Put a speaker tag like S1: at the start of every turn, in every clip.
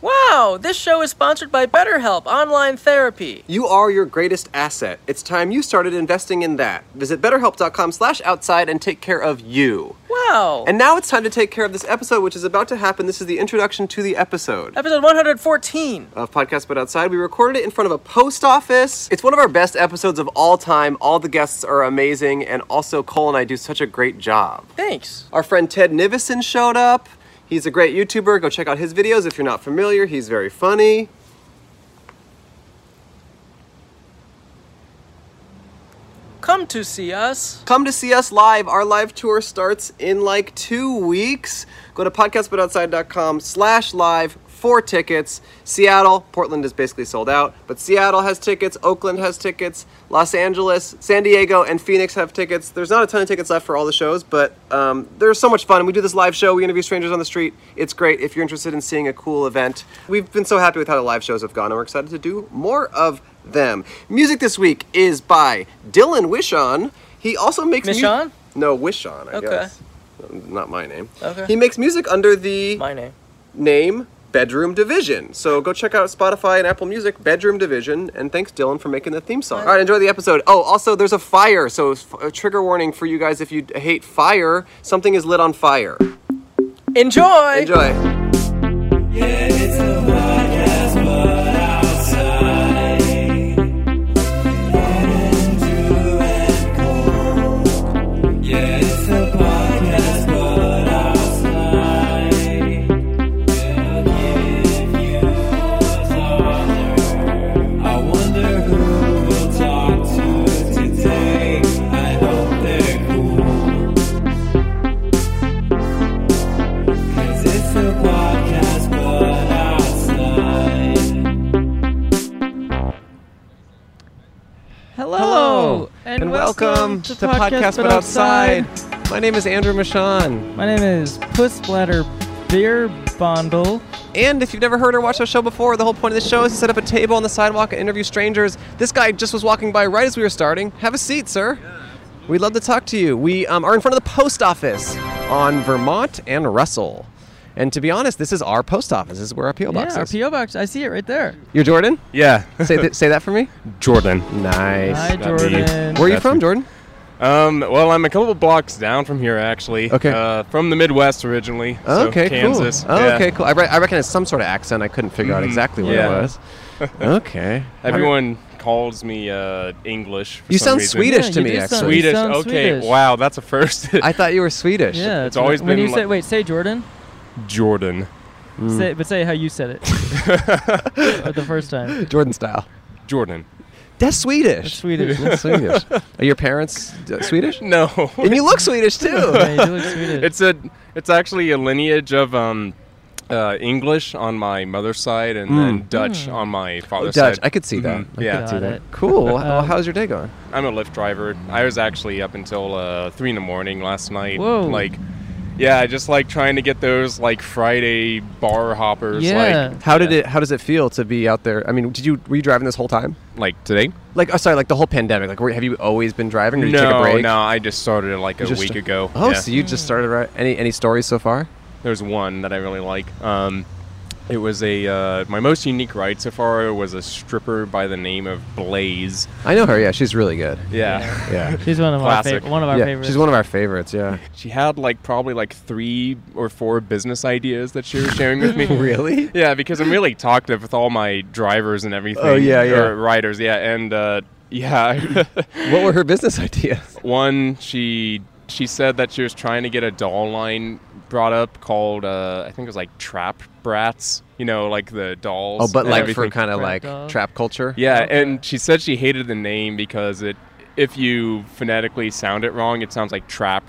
S1: Wow, this show is sponsored by BetterHelp Online Therapy.
S2: You are your greatest asset. It's time you started investing in that. Visit betterhelp.com slash outside and take care of you.
S1: Wow.
S2: And now it's time to take care of this episode, which is about to happen. This is the introduction to the episode
S1: Episode 114.
S2: of Podcast But Outside. We recorded it in front of a post office. It's one of our best episodes of all time. All the guests are amazing, and also Cole and I do such a great job.
S1: Thanks.
S2: Our friend Ted Nivison showed up. He's a great YouTuber. Go check out his videos if you're not familiar. He's very funny.
S1: Come to see us.
S2: Come to see us live. Our live tour starts in like two weeks. Go to podcastbutoutside.com slash live for tickets. Seattle, Portland is basically sold out, but Seattle has tickets, Oakland has tickets, Los Angeles, San Diego, and Phoenix have tickets. There's not a ton of tickets left for all the shows, but um, there's so much fun. We do this live show, we interview strangers on the street. It's great if you're interested in seeing a cool event. We've been so happy with how the live shows have gone, and we're excited to do more of them. Music this week is by Dylan Wishon. He also makes mu-
S1: Michon?
S2: no, Wishon, I
S1: Okay.
S2: guess. Not my name.
S1: Okay.
S2: He makes music under the
S1: My name.
S2: name Bedroom Division. So go check out Spotify and Apple Music, Bedroom Division, and thanks Dylan for making the theme song. All right, enjoy the episode. Oh, also there's a fire, so f- a trigger warning for you guys if you d- hate fire, something is lit on fire.
S1: Enjoy.
S2: Enjoy.
S3: It's a podcast, but outside.
S4: Hello,
S2: and, welcome, to, Podcast, But Outside. My name is Andrew Michon.
S4: My name is Puss Bladder Beer Bundle.
S2: And if you've never heard or watched our show before, the whole point of the show is to set up a table on the sidewalk and interview strangers. This guy just was walking by right as we were starting. Have a seat, sir. We'd love to talk to you. We um, are in front of the post office on Vermont and Russell. And to be honest, this is our post office. This is where our PO box
S4: Yeah, our
S2: is.
S4: PO box. I see it right there.
S2: You're Jordan.
S5: Yeah.
S2: Say, th- say that for me.
S5: Jordan.
S2: Nice.
S4: Hi,
S5: Not me.
S4: Jordan.
S2: Where are you
S5: That's
S2: from,
S5: me.
S2: Jordan?
S5: Um, well, I'm a couple blocks down from here, actually.
S2: Okay.
S5: Uh, from the Midwest originally. so
S2: okay,
S5: Kansas.
S2: cool. Oh,
S5: yeah.
S2: Okay, cool. I, re- I recognize some sort of accent. I couldn't figure out
S5: Mhm.
S2: exactly what
S5: Yeah.
S2: it was. okay.
S5: Everyone calls me uh, English. for
S2: You
S5: some
S2: sound
S5: reason.
S2: Swedish
S4: Yeah,
S2: to
S4: you
S2: me,
S4: do
S2: actually.
S4: sound- you
S5: Swedish.
S4: sound
S5: okay.
S4: Swedish.
S5: Wow, that's a first.
S2: I thought you were Swedish.
S4: Yeah,
S5: It's always
S4: when
S5: been
S4: you say
S5: like-
S4: wait, say Jordan,
S5: Jordan.
S2: Hmm.
S4: say, but say how you said it Uh, the first time.
S2: Jordan style.
S5: Jordan.
S2: That's Swedish.
S4: That's Swedish.
S2: That's Swedish. Are your parents uh, Swedish?
S5: No.
S2: And you look Swedish too.
S4: Yeah, you do look Swedish.
S5: it's a. It's actually a lineage of um, uh, English on my mother's side, and then
S4: Hmm.
S5: Dutch on my father's
S2: Oh, Dutch.
S5: side.
S2: I could see that.
S5: Mhm,
S2: I
S5: Yeah.
S2: could
S4: Got
S2: see that.
S4: it.
S2: Cool. well,
S4: Um,
S2: how's your day going?
S5: I'm a Lyft driver. I was actually up until uh, three in the morning last night.
S4: Whoa.
S5: Like, yeah, I just like trying to get those like Friday bar hoppers.
S4: Yeah.
S5: Like,
S2: How did
S5: yeah.
S2: it? How does it feel to be out there? I mean, did you were you driving this whole time?
S5: Like today?
S2: Like, oh, sorry, like the whole pandemic. Like, were, have you always been driving? Or did you take a
S5: No,
S2: break?
S5: no. I just started it uh, like
S2: You
S5: a
S2: just-
S5: week ago.
S2: Oh,
S5: Yeah.
S2: so you just started right? Any any stories so far?
S5: There's one that I really like. Um, it was a uh, my most unique ride so far was a stripper by the name of Blaze.
S2: I know her. Yeah, she's really good.
S5: Yeah.
S2: Yeah.
S4: She's one of our
S5: Classic.
S4: fav- one of our
S2: yeah,
S4: favorites.
S2: she's one of our favorites. Yeah.
S5: She had like probably like three or four business ideas that she was sharing with me.
S2: really?
S5: Yeah, because I'm really talkative with all my drivers and everything.
S2: Oh, yeah, yeah.
S5: Or riders, yeah, and uh, yeah.
S2: What were her business ideas?
S5: One, she she said that she was trying to get a doll line brought up called uh, I think it was like Trap Brats. You know, like the dolls.
S2: Oh, but
S5: and
S2: like for
S5: everything.
S2: kind of
S4: Trap
S2: like
S4: dog.
S2: trap culture.
S5: Yeah,
S4: Okay.
S5: and she said she hated the name because it if you phonetically sound it wrong, it sounds like Trap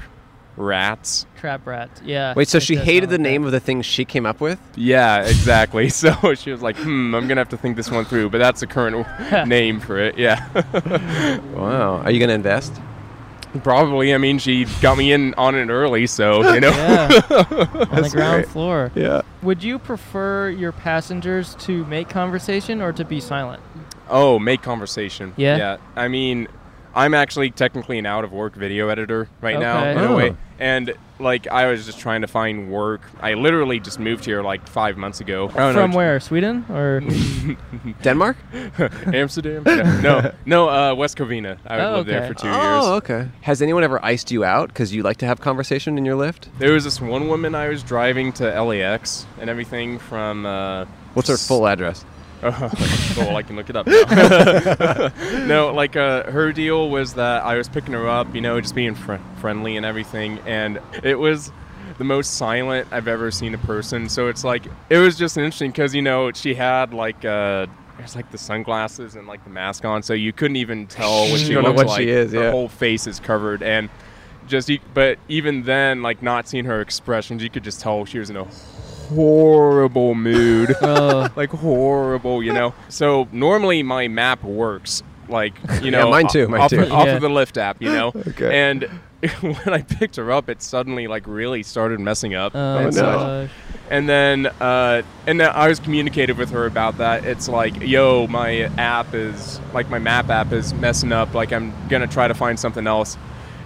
S5: Rats.
S4: trap rat. Yeah.
S2: Wait, so
S4: it
S2: she
S4: does
S2: hated the
S4: sound like
S2: name
S4: that.
S2: of the thing she came up with?
S5: Yeah, exactly. So she was like, "Hmm, I'm gonna have to think this one through." But that's the current name for it. Yeah.
S2: Wow. Are you going to invest?
S5: Probably. I mean, she got me in on it early, so you know.
S4: Yeah. on the ground
S2: great.
S4: floor.
S2: Yeah.
S4: Would you prefer your passengers to make conversation or to be silent?
S5: Oh, make conversation.
S4: Yeah?
S5: Yeah. I mean, I'm actually technically an out of work video editor right now
S4: Okay.
S5: in a way.
S2: Oh.
S5: And like I was just trying to find work. I literally just moved here like five months ago. Oh, I
S2: Oh,
S5: don't
S4: From
S5: know,
S4: where? Sweden or?
S2: Denmark?
S5: Amsterdam? Yeah. No, no, uh, West Covina. I
S4: Oh,
S5: lived there
S4: okay.
S5: for two years.
S2: Oh, okay. Has anyone ever iced you out because you like to have conversation in your lift?
S5: There was this one woman I was driving to LAX and everything from. Uh,
S2: What's her
S5: s-
S2: full address?
S5: well, I can look it up. now. no, like uh, her deal was that I was picking her up, you know, just being fr- friendly and everything, and it was the most silent I've ever seen a person. So it's like it was just interesting because you know she had like uh, it's like the sunglasses and like the mask on, so you couldn't even tell what she
S2: Don't know
S5: looked
S2: what
S5: like.
S2: she is,
S5: Her
S2: yeah.
S5: whole face is covered and. Just, e- but even then, like not seeing her expressions, you could just tell she was in a horrible mood
S2: Uh.
S4: Oh,
S5: like horrible, you know. So normally my map works, like you know,
S2: mine too,
S5: o-
S2: mine
S5: off,
S2: too.
S5: off
S4: Yeah.
S5: of the Lyft app, you know.
S2: Okay.
S5: And when I picked her up, it suddenly like really started messing up.
S4: oh
S5: It's
S2: no.
S5: like-
S4: gosh.
S5: and then uh, and then I was communicated with her about that. It's like, yo, my app is like my map app is messing up. Like I'm gonna try to find something else.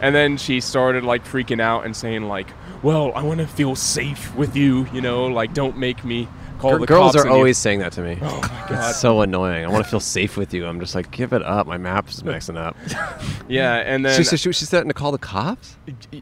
S5: And then she started like freaking out and saying like, well, I want to feel safe with you, you know, like don't make me call
S2: Gir-
S5: the
S2: girls
S5: cops
S2: are
S5: on you."
S2: always saying that to me.
S5: Oh my God.
S2: It's so annoying. I want to feel safe with you. I'm just like, give it up. My map's messing up.
S5: Yeah, and then
S2: she, so she, she's starting to call the cops?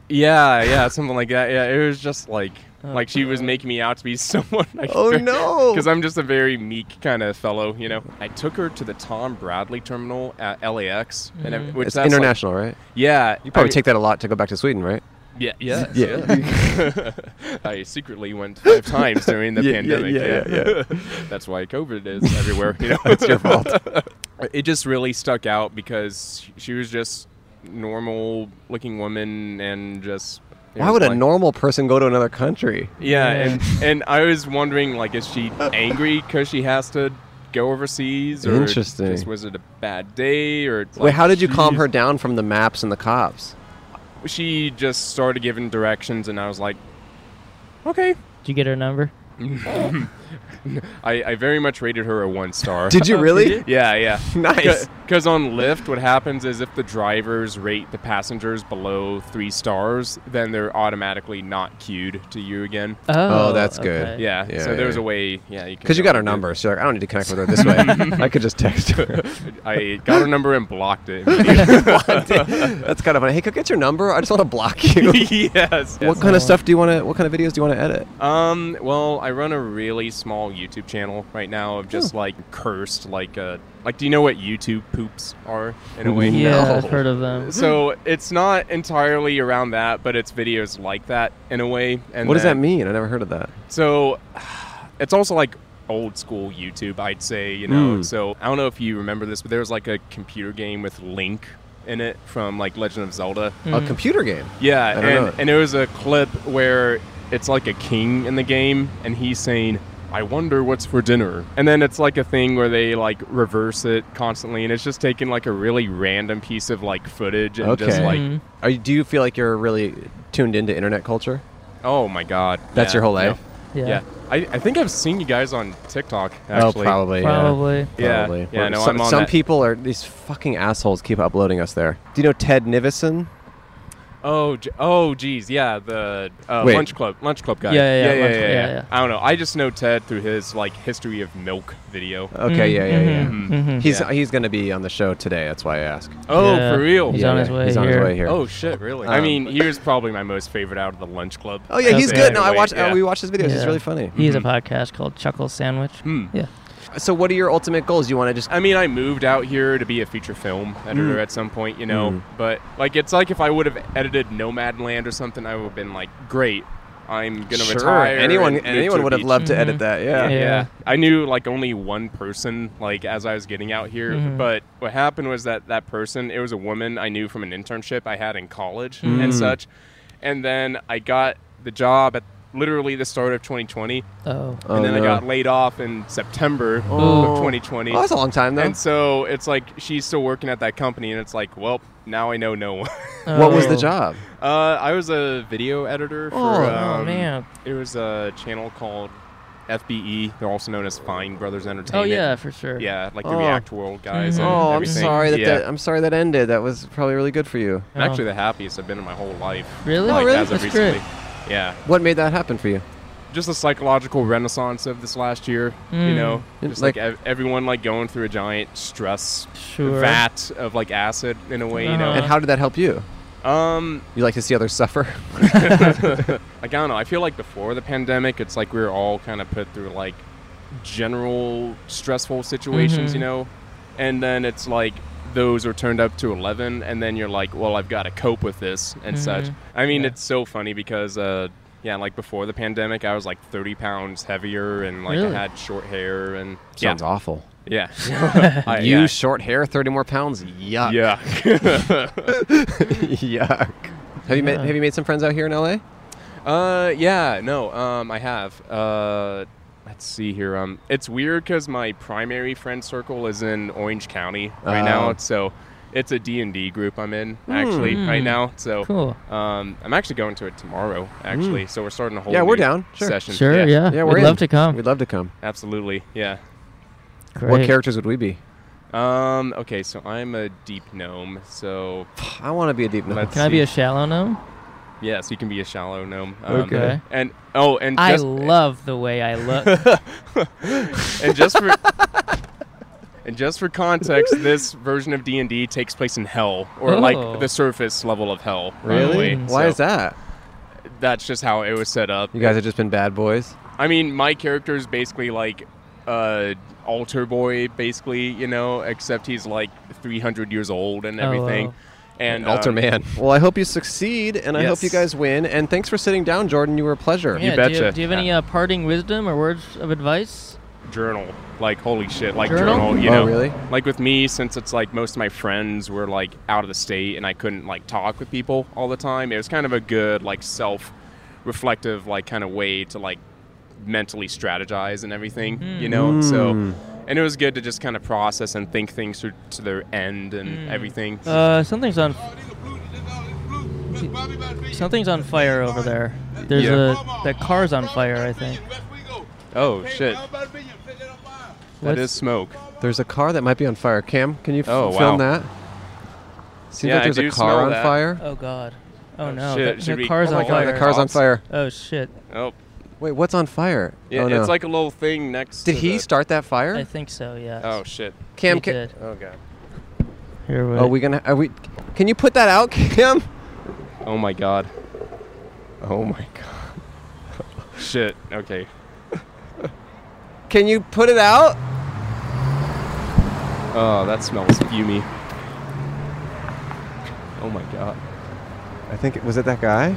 S5: yeah, yeah, something like that. Yeah, it was just like like she was making me out to be someone. I
S2: Oh, no.
S5: Because I'm just a very meek kind of fellow, you know. I took her to the Tom Bradley terminal at LAX, and it- which
S2: It's
S5: that's like-
S2: international, right?
S5: yeah,
S2: You probably take that a lot to go back to Sweden, right?
S5: Yeah, yes,
S2: Yeah.
S5: yeah. I secretly went five times during the
S2: Yeah, yeah,
S5: pandemic.
S2: yeah, yeah,
S5: That's why COVID is everywhere. You know,
S2: It's your fault.
S5: it just really stuck out because she was just normal looking woman and just it
S2: Why
S5: was
S2: would a
S5: like-
S2: normal person go to another country?
S5: yeah
S4: Yeah.
S5: and and i was wondering like is she angry because she has to go overseas or
S2: Interesting.
S5: just, was it a bad day or it's
S2: Wait,
S5: like,
S2: how did you calm
S5: "Jeez."
S2: her down from the maps and the cops?
S5: she just started giving directions and i was like okay
S4: Did you get her number?
S5: i, I very much rated her a one star
S2: Did you really?
S5: yeah yeah
S2: Nice.
S5: because on lyft what happens is if the drivers rate the passengers below three stars then they're automatically not queued to you again
S4: Oh,
S2: that's good.
S4: okay.
S5: yeah,
S2: Yeah,
S5: so
S2: yeah,
S5: there was
S2: yeah.
S5: a way yeah you can
S2: Because you
S5: go
S2: got her
S5: and do-
S2: number. So you're like, I don't need to connect with her this way. I could just text her.
S5: i got her number and blocked it
S2: That's kind of funny. Hey, could I get your number? I just want to block you.
S5: yes.
S2: What kind of stuff do you want to? What kind of videos do you want to edit?
S5: Um. Well, I run a really small YouTube channel right now of just like cursed, like uh, like do you know what YouTube poops are in a way?
S4: Yeah,
S2: No.
S4: I've heard of them.
S5: So it's not entirely around that, but it's videos like that in a way. And
S2: What does that
S5: then-
S2: mean? I never heard of that.
S5: So it's also like old school YouTube, I'd say. You know.
S2: Mm.
S5: So I don't know if you remember this, but there was like a computer game with Link in it from like Legend of Zelda.
S4: Mm-hmm.
S2: A computer game.
S5: Yeah,
S2: I don't know.
S5: and, and it was a clip where it's like a king in the game, and he's saying, "I wonder what's for dinner," and then it's like a thing where they like reverse it constantly, and it's just taking like a really random piece of like footage and just
S2: Okay.
S5: like,
S4: Mhm.
S2: Are you, do you feel like you're really tuned into internet culture?
S5: "Oh my god,
S2: That's
S5: Yeah,
S2: your whole
S5: no.
S2: life.
S4: yeah,
S5: Yeah, I, I think I've seen you guys on TikTok actually.
S2: oh, probably. yeah.
S4: probably.
S5: Yeah,
S2: Probably.
S5: yeah,
S2: Or
S5: no,
S2: some
S5: I'm on
S2: some
S5: that.
S2: people are these fucking assholes keep uploading us there. Do you know Ted Nivison?
S5: Oh, j- oh, geez, yeah, the uh,
S2: Wait.
S5: lunch club, lunch club guy.
S4: Yeah, yeah,
S5: yeah, yeah,
S4: Lunch Club,
S5: yeah,
S4: yeah,
S5: yeah.
S4: yeah.
S5: I don't know. I just know Ted through his like history of milk video.
S2: Okay, yeah, yeah, yeah.
S4: mhm.
S2: He's
S5: Yeah.
S2: he's going to be on the show today. That's why I ask.
S5: Oh,
S4: Yeah.
S5: for real?
S4: He's
S2: yeah,
S4: on
S2: yeah,
S4: his way
S2: He's on his
S4: here.
S2: way here.
S5: Oh shit! Really? I
S2: Um,
S5: mean, he was probably my most favorite out of the lunch club.
S2: Oh, yeah,
S4: Okay.
S2: he's good. No, I
S5: Wait,
S2: watched.
S5: yeah.
S2: Uh, we watched his videos. He's
S4: Yeah.
S2: really funny. Mm-hmm. Mm.
S4: He has a podcast called Chuckle Sandwich.
S5: Hmm.
S4: Yeah.
S2: So, what are your ultimate goals? You want to just
S5: I mean, I moved out here to be a feature film
S2: Hmm.
S5: editor at some point, you know. But like, it's like if I would have edited Nomadland or something, I would have been like, great. I'm gonna
S2: sure
S5: retire. and
S2: anyone
S5: move to
S2: anyone
S5: a
S2: would have
S5: beach." Mm-hmm.
S2: loved to edit that? Yeah.
S5: Yeah.
S4: Yeah.
S5: I knew like only one person like as I was getting out here,
S2: Mm-hmm.
S5: but what happened was that that person it was a woman I knew from an internship I had in college
S2: Mm.
S5: and such, and then I got the job at literally the start of 2020.
S4: Oh.
S2: Oh,
S5: and then I
S2: no.
S5: got laid off in September
S2: Oh.
S5: of 2020.
S2: Oh, that's a long time though.
S5: and so it's like she's still working at that company, and it's like, well, now I know no one.
S2: What was the
S4: Oh.
S2: job?
S5: uh, I was a video editor for.
S2: Oh.
S4: Oh
S5: um,
S4: man.
S5: It was a channel called FBE. They're also known as Fine Brothers
S4: Oh
S5: Entertainment.
S4: yeah, for sure.
S5: Yeah, like the
S2: Oh.
S5: React World guys.
S4: Mhm.
S5: and
S2: Oh, I'm
S5: Mm-hmm. everything.
S2: sorry that,
S5: yeah.
S2: that I'm sorry that ended. That was probably really good for you.
S5: I'm actually the happiest I've been in my whole life.
S4: Oh. Really?
S5: Like,
S2: Oh, really?
S5: As of
S4: That's
S5: recently.
S4: great.
S5: Yeah.
S2: What made that happen for you?
S5: Just the psychological renaissance of this last year. You
S4: Mm.
S5: know,
S2: It-
S5: just like,
S2: like-
S5: ev- everyone like going through a giant stress
S4: Sure.
S5: vat of like acid in a way. You know.
S2: And how did that help you?
S4: Uh-huh.
S5: Um,
S2: You like to see others suffer?
S5: like I don't know. I feel like before the pandemic, it's like we were all kind of put through like general stressful situations,
S4: Mhm.
S5: you know, and then it's like those are turned up to eleven, and then you're like, well, I've got to cope with this and such.
S4: Mhm.
S5: I mean,
S4: Yeah.
S5: it's so funny because. uh yeah, like before the pandemic, I was like 30 pounds heavier and like
S4: Really?
S5: I had short hair and
S2: Sounds awful.
S5: yeah, yeah. I-
S2: you
S5: yeah.
S2: short hair, 30 more pounds. Yuck.
S5: yeah.
S2: Yuck. Have you made
S4: Yeah.
S2: Have you made some friends out here in LA?
S5: Uh, yeah, no, um, I have. Uh, let's see here. Um, it's weird because my primary friend circle is in Orange County right
S2: Oh.
S5: now, so it's a D and D group I'm in actually right
S4: Mm.
S5: now. So
S4: Cool. Hmm.
S5: Um, I'm actually going to it tomorrow actually. So we're starting a whole
S2: Yeah, we're
S5: new
S2: down. Sure.
S5: session.
S4: Sure. Yeah.
S2: Yeah, we're
S4: We'd
S2: in.
S4: love to come.
S2: We'd love to come.
S5: absolutely. Yeah.
S4: Great.
S2: What characters would we be?
S5: Um, okay, so I'm a deep gnome, so
S2: I want to be a deep gnome.
S5: Let's-
S4: Can I be
S5: See.
S4: a shallow gnome?
S5: yes, you can be a shallow gnome. Um,
S4: Okay.
S5: And oh, and
S4: I
S5: just,
S4: love the way I look.
S5: and just for and just for context, this version of D and D takes place in hell, or
S4: Oh.
S5: like the surface level of hell. by the way.
S2: Why
S5: So
S2: is that?
S5: That's just how it was set up.
S2: You guys have just been bad boys.
S5: I mean, my character is basically like uh, altar boy, basically, you know, except he's like 300 years old and
S4: Oh,
S5: everything.
S4: wow.
S5: And
S2: Alter
S5: um,
S2: man. Well, I hope you succeed, and I
S5: Yes.
S2: hope you guys win. And thanks for sitting down, Jordan. You were a pleasure.
S4: yeah, Do you,
S5: betcha.
S4: do you have any uh, parting wisdom or words of advice?
S5: journal. Like holy shit, like
S4: Journal?
S5: journal. you
S2: Oh,
S5: know,
S2: really?
S5: Like with me, since it's like most of my friends were like out of the state, and I couldn't like talk with people all the time. It was kind of a good like self-reflective like kind of way to like mentally strategize and everything,
S4: Hmm.
S5: you know. And
S2: Mm.
S5: So, and it was good to just kind of process and think things through to their end and everything.
S4: Hmm. Uh, something's on. Something's on fire over there. There's
S5: Yeah.
S4: a that car's on fire. I think.
S5: oh shit, that
S4: What's-
S5: is smoke.
S2: There's a car that might be on fire. Cam, can you f-
S5: Oh,
S2: film
S5: wow.
S2: that? Seems
S5: Yeah,
S2: like
S5: I
S2: there's a
S5: do
S2: car
S5: smell
S2: on
S5: that.
S2: fire.
S4: Oh God. Oh,
S5: Oh,
S4: no.
S5: shit.
S4: The,
S5: Should
S4: the
S5: we-
S4: car's
S5: Oh
S2: oh
S4: on
S2: my god,
S4: fire.
S2: the car's on
S5: Cops.
S2: fire.
S4: Oh shit.
S5: Oh,
S2: Wait, what's on fire?
S5: yeah,
S2: oh, no.
S5: it's like a little thing next.
S2: Did
S5: to
S2: he
S5: the-
S2: start that fire?
S4: I think so. Yeah.
S5: Oh shit.
S2: Cam,
S4: He
S2: ca-
S4: did.
S5: Oh god.
S4: Here we.
S2: oh, we gonna? Are we? Can you put that out, Cam?
S5: Oh my god. Oh my god. Shit. Okay.
S2: Can you put it out?
S5: Oh, that smells fumy. Oh my god.
S2: I think it was it that guy.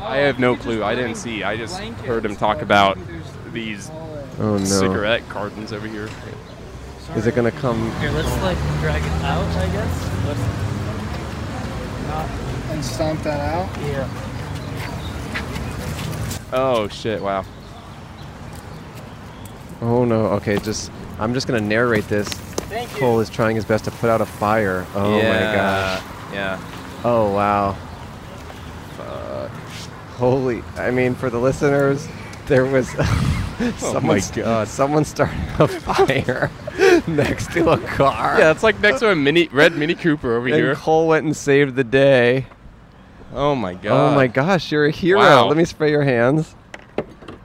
S5: I have no clue. I didn't see. I just heard him talk about these
S2: Oh no.
S5: cigarette cartons over here.
S2: Is it gonna come?
S4: Here, let's like drag it out. I guess. Let's,
S6: and stomp that out.
S4: yeah.
S5: Oh shit! Wow.
S2: Oh no. Okay, just I'm just gonna narrate this.
S4: Thank you.
S2: Cole is trying his best to put out a fire. Oh my gosh.
S5: Yeah.
S2: Oh wow. Holy! I mean, for the listeners, there was someone.
S5: Oh my
S2: st-
S5: God.
S2: Someone started a fire next to a car.
S5: Yeah, it's like next to a mini red Mini Cooper over
S2: And
S5: here.
S2: Cole went and saved the day.
S5: Oh my god.
S2: Oh my gosh, you're a hero.
S5: Wow.
S2: Let me spray your hands.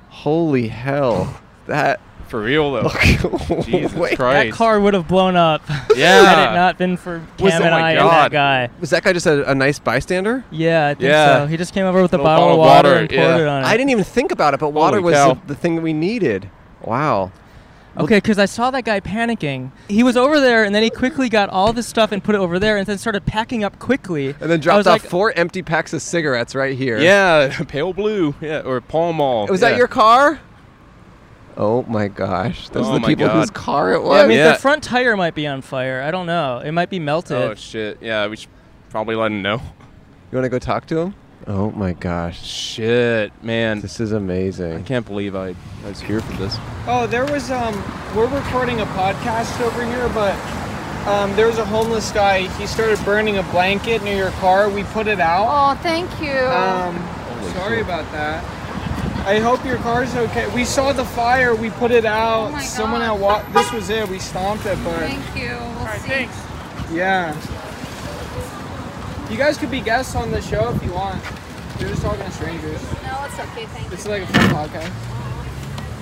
S2: Holy hell. That.
S5: For real
S2: Oh,
S5: though. Jesus
S2: Wait.
S5: Christ.
S4: That car would have blown up.
S5: Yeah.
S4: had it not been for Cam
S5: Was- oh
S4: and
S5: my
S4: I and
S5: God.
S4: that guy.
S2: Was that guy just a, a nice bystander?
S4: Yeah, I think
S5: Yeah.
S4: so. He just came over with a
S5: Little
S4: bottle, of water, and poured
S5: yeah.
S4: it on it.
S2: I didn't even think about it, but water
S5: Holy
S2: was
S5: cow.
S2: the, the thing that we needed. Wow.
S4: Okay, because I saw that guy panicking. He was over there, and then he quickly got all this stuff and put it over there, and then started packing up quickly.
S2: And then
S4: I
S2: dropped
S4: was
S2: off
S4: like,
S2: four empty packs of cigarettes right here.
S5: Yeah, pale blue. Yeah, or Pall Mall.
S2: Was
S5: Yeah.
S2: that your car? Oh my gosh. Those
S5: Oh
S2: are the
S5: my
S2: people
S5: God.
S2: whose car it was.
S4: I mean,
S5: Yeah.
S4: the front tire might be on fire. I don't know. It might be melted.
S5: Oh shit! Yeah, we should probably let him know.
S2: You want to go talk to him? Oh my gosh.
S5: Shit, man!
S2: This is
S5: I
S2: amazing.
S5: can't believe I, I was here for this.
S6: Oh, there was um, we're recording a podcast over here, but um, there was a homeless guy. He started burning a blanket near your car. We put it out.
S7: Oh, thank you.
S6: Um, sorry about that. I hope your car's okay. We saw the fire. We put it out.
S7: Oh my
S6: Someone
S7: God.
S6: out. Wa- this was it. We stomped it, but
S7: Thank you. We'll see.
S6: yeah. You guys could be guests on the show if you want. You're just talking to strangers.
S7: No, it's okay. Thank
S6: It's
S7: you.
S6: like a fun podcast.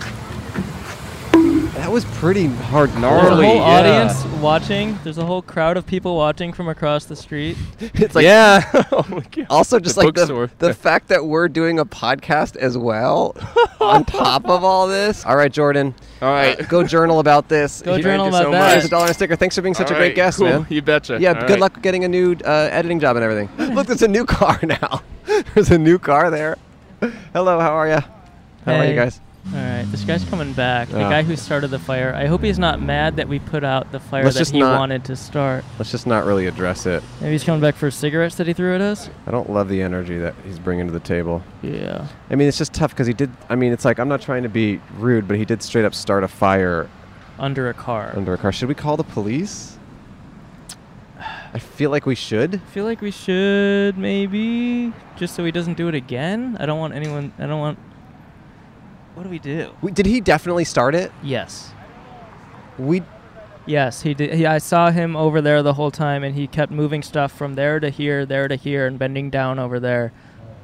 S2: That was pretty hard.
S4: There's a
S5: Gnarly,
S4: whole
S5: yeah.
S4: audience watching. There's a whole crowd of people watching from across the street.
S2: It's like
S5: yeah. oh my god.
S2: also just
S5: The
S2: like the,
S5: bookstore.
S2: the fact that we're doing a podcast as well on top of all this. All right, Jordan.
S5: All right.
S2: Go journal about this.
S4: Go
S5: Thank
S4: journal
S5: you
S4: about
S5: so
S4: that.
S5: much.
S2: Here's a dollar and a sticker. Thanks for being such a
S5: All
S2: great
S5: right,
S2: guest,
S5: cool.
S2: man.
S5: You betcha.
S2: Yeah,
S5: All
S2: good
S5: right.
S2: luck getting a new uh, editing job and everything. Look, there's a new car now. there's a new car there. Hello, how are you? How are you
S4: Hey.
S2: guys?
S4: All right, this guy's coming back. The
S2: Yeah.
S4: guy who started the fire. I hope he's not mad that we put out the fire
S2: Let's
S4: that
S2: just
S4: he
S2: not-
S4: wanted to start.
S2: Let's just not really address it.
S4: Maybe he's coming back for cigarettes that he threw at us.
S2: I don't love the energy that he's bringing to the table.
S4: Yeah.
S2: I mean, it's just tough because he did. I mean, it's like I'm not trying to be rude, but he did straight up start a fire
S4: Under a car.
S2: under a car. Should we call the police? I feel like we should.
S4: I feel like we should maybe just so he doesn't do it again. I don't want anyone. I don't want. What do we do?
S2: We, did he definitely start it?
S4: Yes.
S2: We
S4: Yes, he did. He, I saw him over there the whole time, and he kept moving stuff from there to here, there to here, and bending down over there.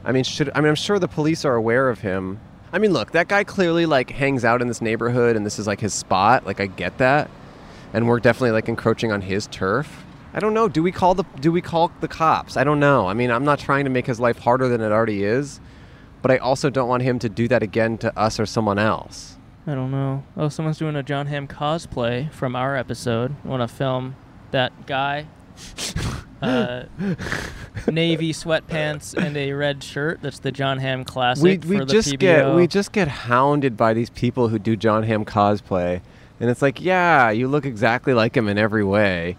S2: I mean, should I mean, I'm sure the police are aware of him. I mean, look, that guy clearly like hangs out in this neighborhood, and this is like his spot. Like, I get that, and we're definitely like encroaching on his turf. I don't know. Do we call the Do we call the cops? I don't know. I mean, I'm not trying to make his life harder than it already is, but I also don't want him to do that again to us or someone else.
S4: I don't know. Oh, someone's doing a John Hamm cosplay from our episode. Want to film that guy? uh, navy sweatpants and a red shirt. That's the John Hamm classic
S2: we we
S4: for the
S2: just
S4: PBO.
S2: get we just get hounded by these people who do John Hamm cosplay, and it's like, yeah, you look exactly like him in every way,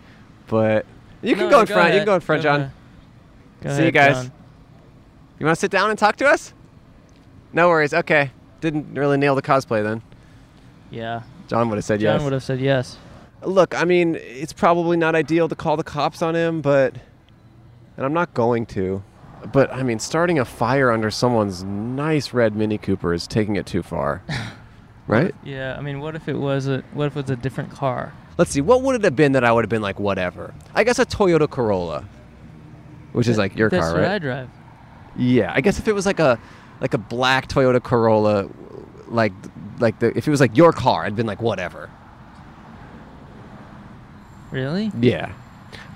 S2: but you can
S4: No,
S2: go in front. You
S4: ahead.
S2: can go in front, John.
S4: ahead. Go
S2: See you
S4: ahead,
S2: guys.
S4: John.
S2: You want to sit down and talk to us? No worries. Okay. Didn't really nail the cosplay then.
S4: Yeah.
S2: John would have said
S4: John
S2: yes.
S4: would have said yes.
S2: Look, I mean, it's probably not ideal to call the cops on him, but. And I'm not going to. But, I mean, starting a fire under someone's nice red Mini Cooper is taking it too far. right?
S4: Yeah. I mean, what if it was a what if it was a different car?
S2: Let's see. What would it have been that I would have been like, whatever? I guess a Toyota Corolla, which is like your
S4: That's
S2: car,
S4: what
S2: right?
S4: I drive.
S2: Yeah, I guess if it was like a like a black Toyota Corolla, like like the if it was like your car, I'd been like whatever.
S4: Really?
S2: Yeah,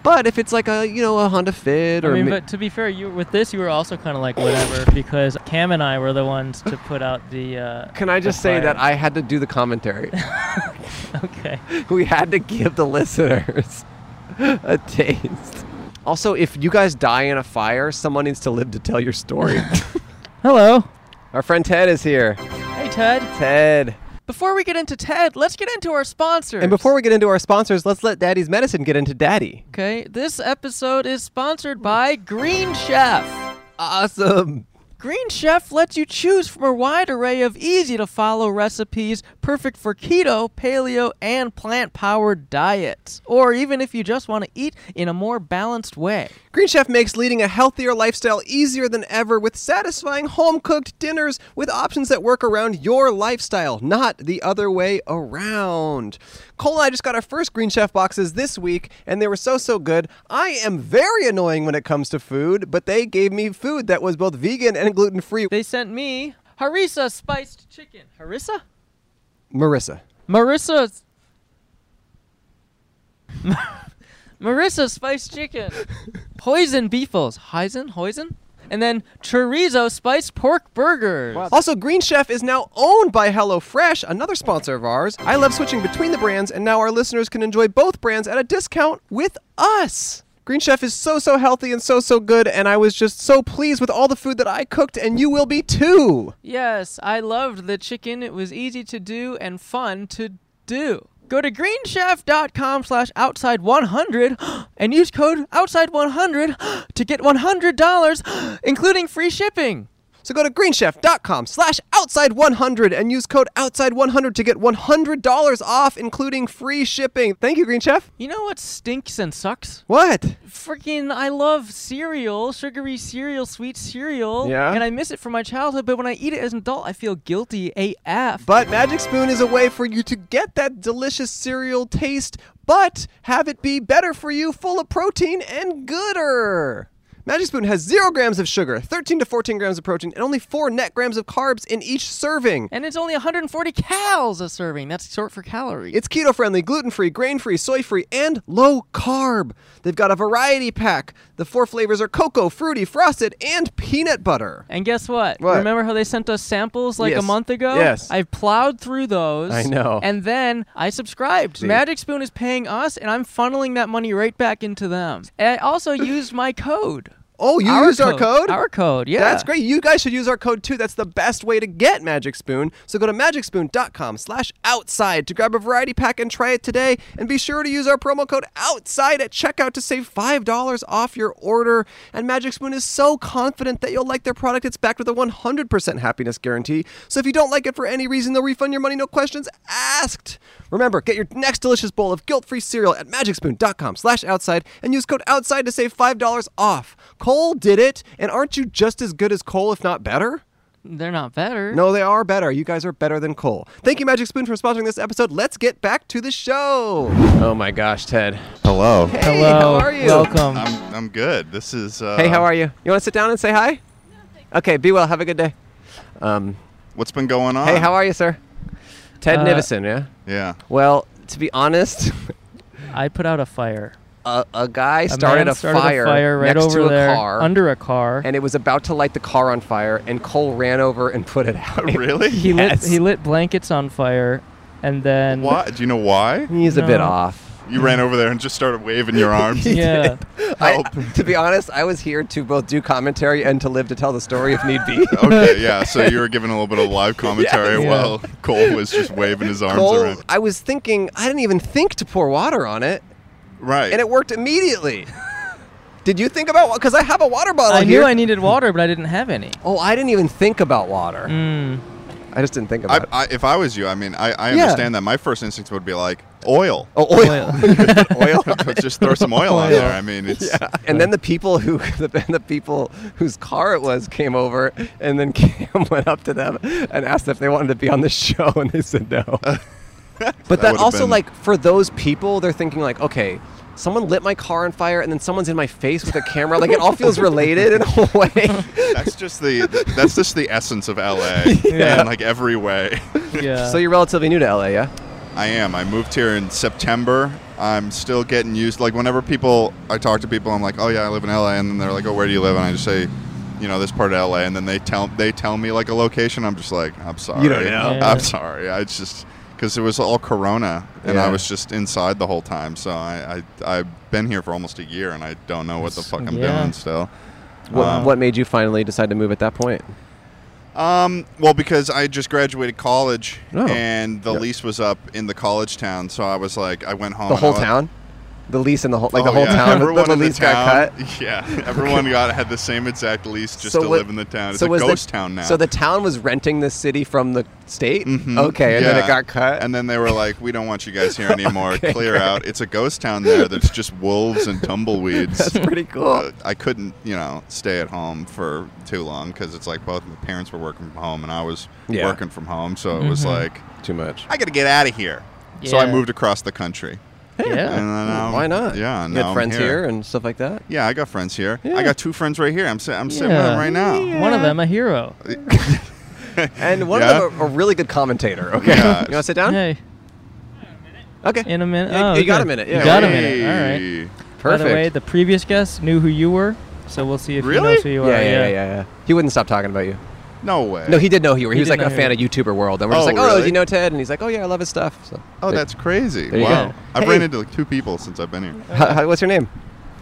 S2: but if it's like a you know a Honda Fit
S4: I
S2: or
S4: mean,
S2: mi-
S4: but to be fair, you with this you were also kind of like whatever because Cam and I were the ones to put out the. Uh,
S2: can I
S4: the
S2: just say that
S4: fire.
S2: I had to do the commentary?
S4: Okay.
S2: we had to give the listeners a taste. Also, if you guys die in a fire, someone needs to live to tell your story.
S4: Hello.
S2: Our friend Ted is here.
S4: Hey, Ted.
S2: Ted.
S1: Before we get into Ted, let's get into our sponsors.
S2: And before we get into our sponsors, let's let Daddy's Medicine get into Daddy.
S1: Okay, this episode is sponsored by Green Chef.
S2: Awesome.
S1: Green Chef lets you choose from a wide array of easy to follow recipes perfect for keto, paleo, and plant powered diets. Or even if you just want to eat in a more balanced way.
S2: Green Chef makes leading a healthier lifestyle easier than ever with satisfying home cooked dinners with options that work around your lifestyle, not the other way around. Cole and I just got our first Green Chef boxes this week, and they were so, so good. I am very annoying when it comes to food, but they gave me food that was both vegan and gluten free.
S1: They sent me harissa spiced chicken. Harissa?
S2: Marissa.
S1: Marissa's. Marissa spiced chicken, poison beefles, hoisin, hoisin, and then chorizo spiced pork burgers.
S2: Also, Green Chef is now owned by HelloFresh, another sponsor of ours. I love switching between the brands, and now our listeners can enjoy both brands at a discount with us. Green Chef is so, so healthy and so, so good, and I was just so pleased with all the food that I cooked, and you will be too.
S1: Yes, I loved the chicken. It was easy to do and fun to do. Go to greenchef.com slash outside100 and use code outside100 to get $100, including free shipping.
S2: So go to greenchef.com slash outside100 and use code outside100 to get $100 off, including free shipping. Thank you, Green Chef.
S1: You know what stinks and sucks?
S2: What?
S1: Freaking, I love cereal, sugary cereal, sweet cereal.
S2: Yeah?
S1: And I miss it from my childhood, but when I eat it as an adult, I feel guilty AF.
S2: But Magic Spoon is a way for you to get that delicious cereal taste, but have it be better for you, full of protein and gooder. Magic Spoon has 0 grams of sugar, 13 to 14 grams of protein, and only 4 net grams of carbs in each serving.
S1: and it's only 140 cals a serving. That's short for calories.
S2: It's keto friendly, gluten free, grain free, soy free, and low carb. They've got a variety pack. The four flavors are cocoa, fruity, frosted, and peanut butter.
S1: And guess what?
S2: What?
S1: Remember how they sent us samples like a
S2: Yes.
S1: month ago?
S2: Yes.
S1: I plowed through those.
S2: I know.
S1: And then I subscribed. Magic Spoon is paying us, and I'm funneling that money right back into them. And I also used my code.
S2: Oh, you
S1: Our
S2: used our code?
S1: Our code, yeah.
S2: That's great. You guys should use our code too. That's the best way to get Magic Spoon. So go to magicspoon.com slash outside to grab a variety pack and try it today. And be sure to use our promo code outside at checkout to save $5 off your order. And Magic Spoon is so confident that you'll like their product. It's backed with a 100% happiness guarantee. So if you don't like it for any reason, they'll refund your money, no questions asked. Remember, get your next delicious bowl of guilt-free cereal at magicspoon.com slash outside and use code outside to save $5 off. Cole did it, and aren't you just as good as Cole, if not better?
S1: They're not better.
S2: No, they are better. You guys are better than Cole. Thank you, Magic Spoon, for sponsoring this episode. Let's get back to the show. Oh my gosh, Ted.
S8: Hello.
S2: Hey,
S4: Hello.
S2: how are you?
S4: Welcome.
S8: I'm, I'm good. This is. Uh,
S2: Hey, how are you? You want to sit down and say hi? Okay, be well. Have a good day. Um,
S8: What's been going on?
S4: Um,
S2: hey, how are you, sir? Ted
S4: Uh,
S2: Nivison, yeah?
S8: Yeah.
S2: Well, to be honest,
S4: I put out a fire.
S2: a, a guy
S4: A
S2: started,
S4: man
S2: a,
S4: started
S2: fire
S4: a fire right
S2: next
S4: over
S2: to a
S4: there
S2: car,
S4: under a car.
S2: and it was about to light the car on fire, and Cole ran over and put it out.
S8: really?
S4: he
S2: Yes.
S4: lit he lit blankets on fire, and then
S8: Why? Do you know why?
S2: He's a bit
S4: No.
S2: off.
S8: You ran over there and just started waving your arms.
S4: Yeah.
S2: I,
S8: Help.
S2: to be honest, I was here to both do commentary and to live to tell the story if need be.
S8: okay. Yeah. So you were giving a little bit of live commentary
S4: Yeah.
S8: while Cole was just waving his arms
S2: Cole,
S8: around.
S2: I was thinking, I didn't even think to pour water on it,
S8: Right.
S2: and it worked immediately. Did you think about Because I have a water bottle
S4: I
S2: here.
S4: knew I needed water, but I didn't have any.
S2: oh, I didn't even think about water.
S4: Mm.
S2: I just didn't think about
S8: I,
S2: it.
S8: I, if I was you, I mean, I, I
S2: Yeah.
S8: understand that. My first instinct would be like oil.
S2: Oh, oil.
S8: oil. just throw some oil on there. I mean, it's
S2: Yeah. And then the people who the, the people whose car it was came over, and then Cam went up to them and asked if they wanted to be on the show, and they said no. but that
S8: would've
S2: also,
S8: been-
S2: like, for those people, they're thinking like, okay. Someone lit my car on fire, and then someone's in my face with a camera. Like it all feels related in a way.
S8: that's just the that's just the essence of LA in like every way.
S4: Yeah.
S2: so you're relatively new to LA, yeah?
S8: I am. I moved here in September. I'm still getting used. Like whenever people, I talk to people, I'm like, "Oh yeah, I live in LA," and then they're like, "Oh, where do you live?" And I just say, "You know, this part of LA," and then they tell they tell me like a location. I'm just like, "I'm sorry,
S2: You don't know.
S4: Yeah.
S8: I'm sorry." I just because it was all Corona, and
S2: Yeah.
S8: I was just inside the whole time. So I, I I've been here for almost a year, and I don't know what the fuck I'm
S4: Yeah.
S8: doing still.
S2: What,
S8: Wow.
S2: what made you finally decide to move at that point?
S8: Um, well, because I just graduated college
S2: Oh.
S8: and the
S2: Yeah.
S8: lease was up in the college town, so I was like, I went home.
S2: The
S8: and
S2: whole
S8: I was-
S2: town, the lease and the whole like the
S8: Oh,
S2: whole
S8: yeah.
S2: town.
S8: Everyone
S2: the
S8: in
S2: lease got
S8: town-
S2: cut.
S8: Yeah, everyone got had the same exact lease just to
S2: what-
S8: live in the town. It's
S2: so
S8: a
S2: was the-
S8: ghost town now.
S2: So the town was renting the city from the state.
S8: Mhm.
S2: Okay, and then
S8: Yeah.
S2: it got cut.
S8: And then they were like, "We don't want you guys here anymore. Clear out. It's a ghost town there. That's just wolves and tumbleweeds."
S2: That's pretty cool.
S8: Uh, I couldn't, you know, stay at home for too long because it's like both my parents were working from home and I was
S2: Yeah. Mm-hmm.
S8: working from home, so it was like,
S2: Too much.
S8: I got to get out of here. So I
S4: Yeah.
S8: moved across the country.
S4: yeah.
S8: And then, um,
S2: Why not?
S8: Yeah,
S2: you
S8: now
S2: got
S8: I'm
S2: friends
S8: here.
S2: here. and stuff like that.
S8: Yeah, I got friends here.
S2: Yeah.
S8: I got two friends right here. I'm, si- I'm sitting with
S4: Yeah.
S8: them right now.
S4: One of them a hero.
S2: And one
S8: Yeah.
S2: of them a, a really good commentator. Okay,
S8: Yeah.
S2: you want to sit down?
S4: Hey,
S2: Okay,
S4: in a minute.
S2: Yeah,
S4: oh,
S2: you got
S4: okay.
S2: a minute, yeah.
S4: You got a
S8: Hey.
S4: minute. All right.
S2: perfect.
S4: By the way, the previous guest knew who you were, so we'll see if
S8: Really?
S4: he knows who you
S2: yeah,
S4: are.
S2: yeah, yeah, yeah, yeah. He wouldn't stop talking about you.
S8: No way.
S2: No, he did know who you were. He,
S4: He
S2: was
S4: did
S2: like a
S4: know
S2: fan
S4: who
S2: of YouTuber World, and we're
S8: Oh,
S2: just like, oh, do
S8: really?
S2: you know Ted? And he's like, oh yeah, I love his stuff. So,
S8: Oh,
S2: like,
S8: that's crazy.
S2: There you
S8: Wow.
S2: go.
S8: I've
S2: Hey.
S8: ran into like two people since I've been here.
S2: how- how- what's your name?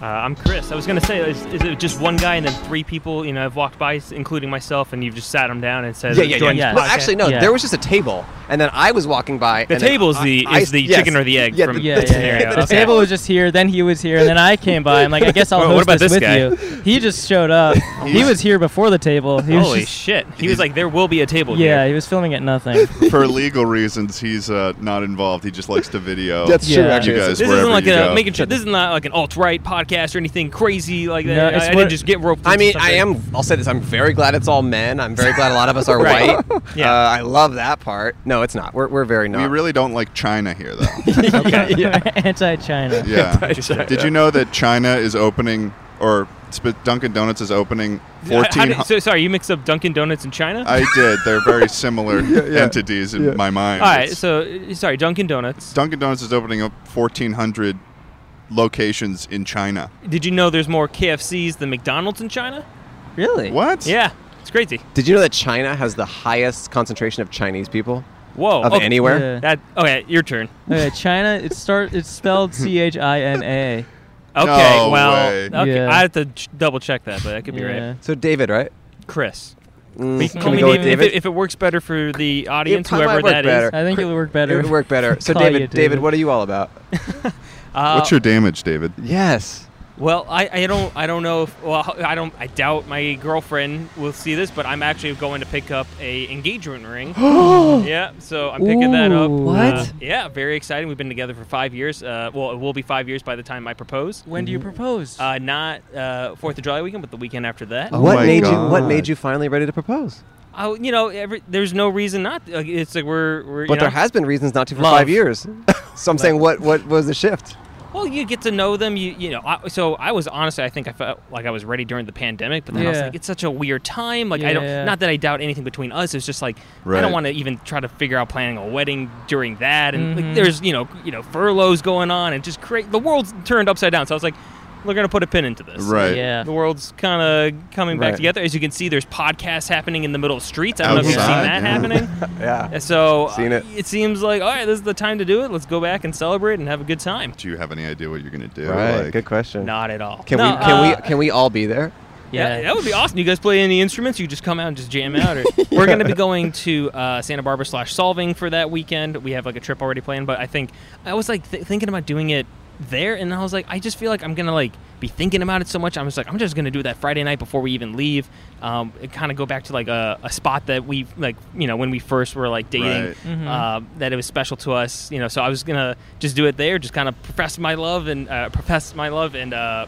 S9: Uh, I'm Chris. I was gonna say, is, is it just one guy and then three people? You know, I've walked by, including myself, and you've just sat them down and said,
S2: Yeah, yeah, yeah.
S9: "Join
S4: yeah.
S9: this
S2: Well,
S9: podcast."
S2: actually, no.
S4: Yeah.
S2: There was just a table, and then I was walking by.
S9: The
S2: and then
S9: table's
S2: I-
S9: the-
S2: I-
S9: is the
S2: yes.
S9: chicken or the egg
S2: Yeah,
S9: from
S2: the-
S4: Yeah,
S9: the
S4: yeah, yeah.
S9: scenario.
S4: The
S9: Okay.
S4: table was just here, then he was here, and then I came by. I'm like, I guess I'll
S9: Well,
S4: host
S9: what about
S4: this,
S9: this
S4: with
S9: guy?
S4: you. He just showed up. he
S8: He's-
S4: was here before the table. He was
S9: Holy
S4: just-
S9: shit! He was like, "There will be a table."
S4: Yeah,
S9: here.
S4: he was filming at nothing.
S8: For legal reasons, he's uh, not involved. He just likes to video.
S2: That's true.
S4: Yeah.
S2: Actually,
S8: You guys-
S9: This
S8: wherever
S9: isn't like
S8: you
S9: a
S8: go.
S9: making sure. This is not like an alt right podcast or anything crazy like that.
S4: No,
S9: I-
S4: it's
S9: I,
S4: what-
S9: didn't just get roped.
S2: I
S9: into
S2: mean, I
S9: something.
S2: am. I'll say this. I'm very glad it's all men. I'm very glad a lot of us are
S9: Right.
S2: white.
S9: Yeah.
S2: Uh, I love that part. No, it's not. We're, we're very not.
S8: We really don't like China here, though.
S4: Anti-China.
S8: yeah.
S9: Interesting.
S8: Did you know that China is opening, or sp- Dunkin' Donuts is opening
S9: How did-
S8: 14?
S9: so sorry, you mixed up Dunkin' Donuts in China.
S8: I did. They're very similar entities in my mind.
S9: All right,
S8: It's-
S9: so uh, sorry, Dunkin' Donuts.
S8: Dunkin' Donuts is opening up 1,400 locations in China.
S9: Did you know there's more KFCs than McDonald's in China?
S4: Really?
S8: What?
S9: Yeah, it's crazy.
S2: Did you know that China has the highest concentration of Chinese people
S9: Whoa.
S2: of
S9: Oh, okay.
S2: anywhere?
S4: Yeah.
S9: That okay, your turn.
S4: Okay, China. It start. It's spelled C H I N A.
S9: Okay,
S8: No
S9: well,
S8: way.
S9: okay,
S4: Yeah.
S9: I have to ch- double check that, but that could be
S4: Yeah.
S9: right.
S2: So David, right?
S9: Chris,
S2: Mm,
S9: We-
S2: can
S9: well,
S2: we
S9: we
S2: go
S9: need-
S2: with
S9: Mm-hmm. if,
S2: David?
S9: it, if it works better for the audience,
S2: probably
S9: whoever
S2: might work
S9: that is.
S2: better.
S4: I think it would work better.
S2: It would work better. So
S4: Call you
S2: David, David,
S4: David.
S2: what are you all about?
S9: Uh,
S8: What's your damage, David?
S2: Yes.
S9: Well, I, I don't I don't know if well I don't I doubt my girlfriend will see this, but I'm actually going to pick up a engagement ring. yeah, so I'm picking that up.
S4: Ooh.
S9: Uh,
S4: What?
S9: yeah, very exciting. We've been together for five years. Uh, well, it will be five years by the time I propose.
S4: When
S2: Mm-hmm.
S4: do you propose?
S9: Uh, not uh, Fourth of July weekend, but the weekend after that.
S8: Oh
S2: what
S8: my
S2: made you? What
S8: God.
S2: made you finally ready to propose?
S9: Oh, you know, every, there's no reason not. Like, it's like we're, we're
S2: But
S9: you know,
S2: there has been reasons not to for
S9: Love.
S2: five years. so I'm saying, what what was the shift?
S9: Well, you get to know them. You you know. I, so I was honestly, I think I felt like I was ready during the pandemic, but then I was
S4: Yeah.
S9: like, it's such a weird time. Like I
S4: Yeah.
S9: don't. Not that I doubt anything between us. It's just like I
S8: Right.
S9: don't want to even try to figure out planning a wedding during that. And
S4: Mhm.
S9: like, there's you know you know furloughs going on and just create the world's turned upside down. So I was like, we're gonna put a pin into this.
S8: Right.
S4: Yeah.
S9: The world's kind of coming back
S2: Right.
S9: together. As you can see, there's podcasts happening in the middle of streets. I don't know if you've seen
S8: Outside,
S9: that
S8: yeah.
S9: happening.
S2: Yeah.
S9: And so
S2: Seen
S9: uh,
S2: it.
S9: seems like all right, this is the time to do it. Let's go back and celebrate and have a good time.
S8: Do you have any idea what you're going to do?
S2: Right.
S8: Like-
S2: Good question.
S9: Not at all.
S2: Can
S9: No,
S2: we can
S9: uh,
S2: we can we all be there?
S9: Yeah, that would be awesome. You guys play any instruments? You just come out and just jam out. Or we're going to be going to uh, Santa Barbara slash Solving for that weekend. We have like a trip already planned, but I think I was like th- thinking about doing it there, and I was like, I just feel like I'm gonna like be thinking about it so much. I'm just like, I'm just gonna do that Friday night before we even leave. Um, kind of go back to like a, a spot that we like, you know, when we first were like dating,
S8: Right.
S9: uh, that it was special to us. You know, so I was gonna just do it there, just kind of profess my love and uh, profess my love and. Uh,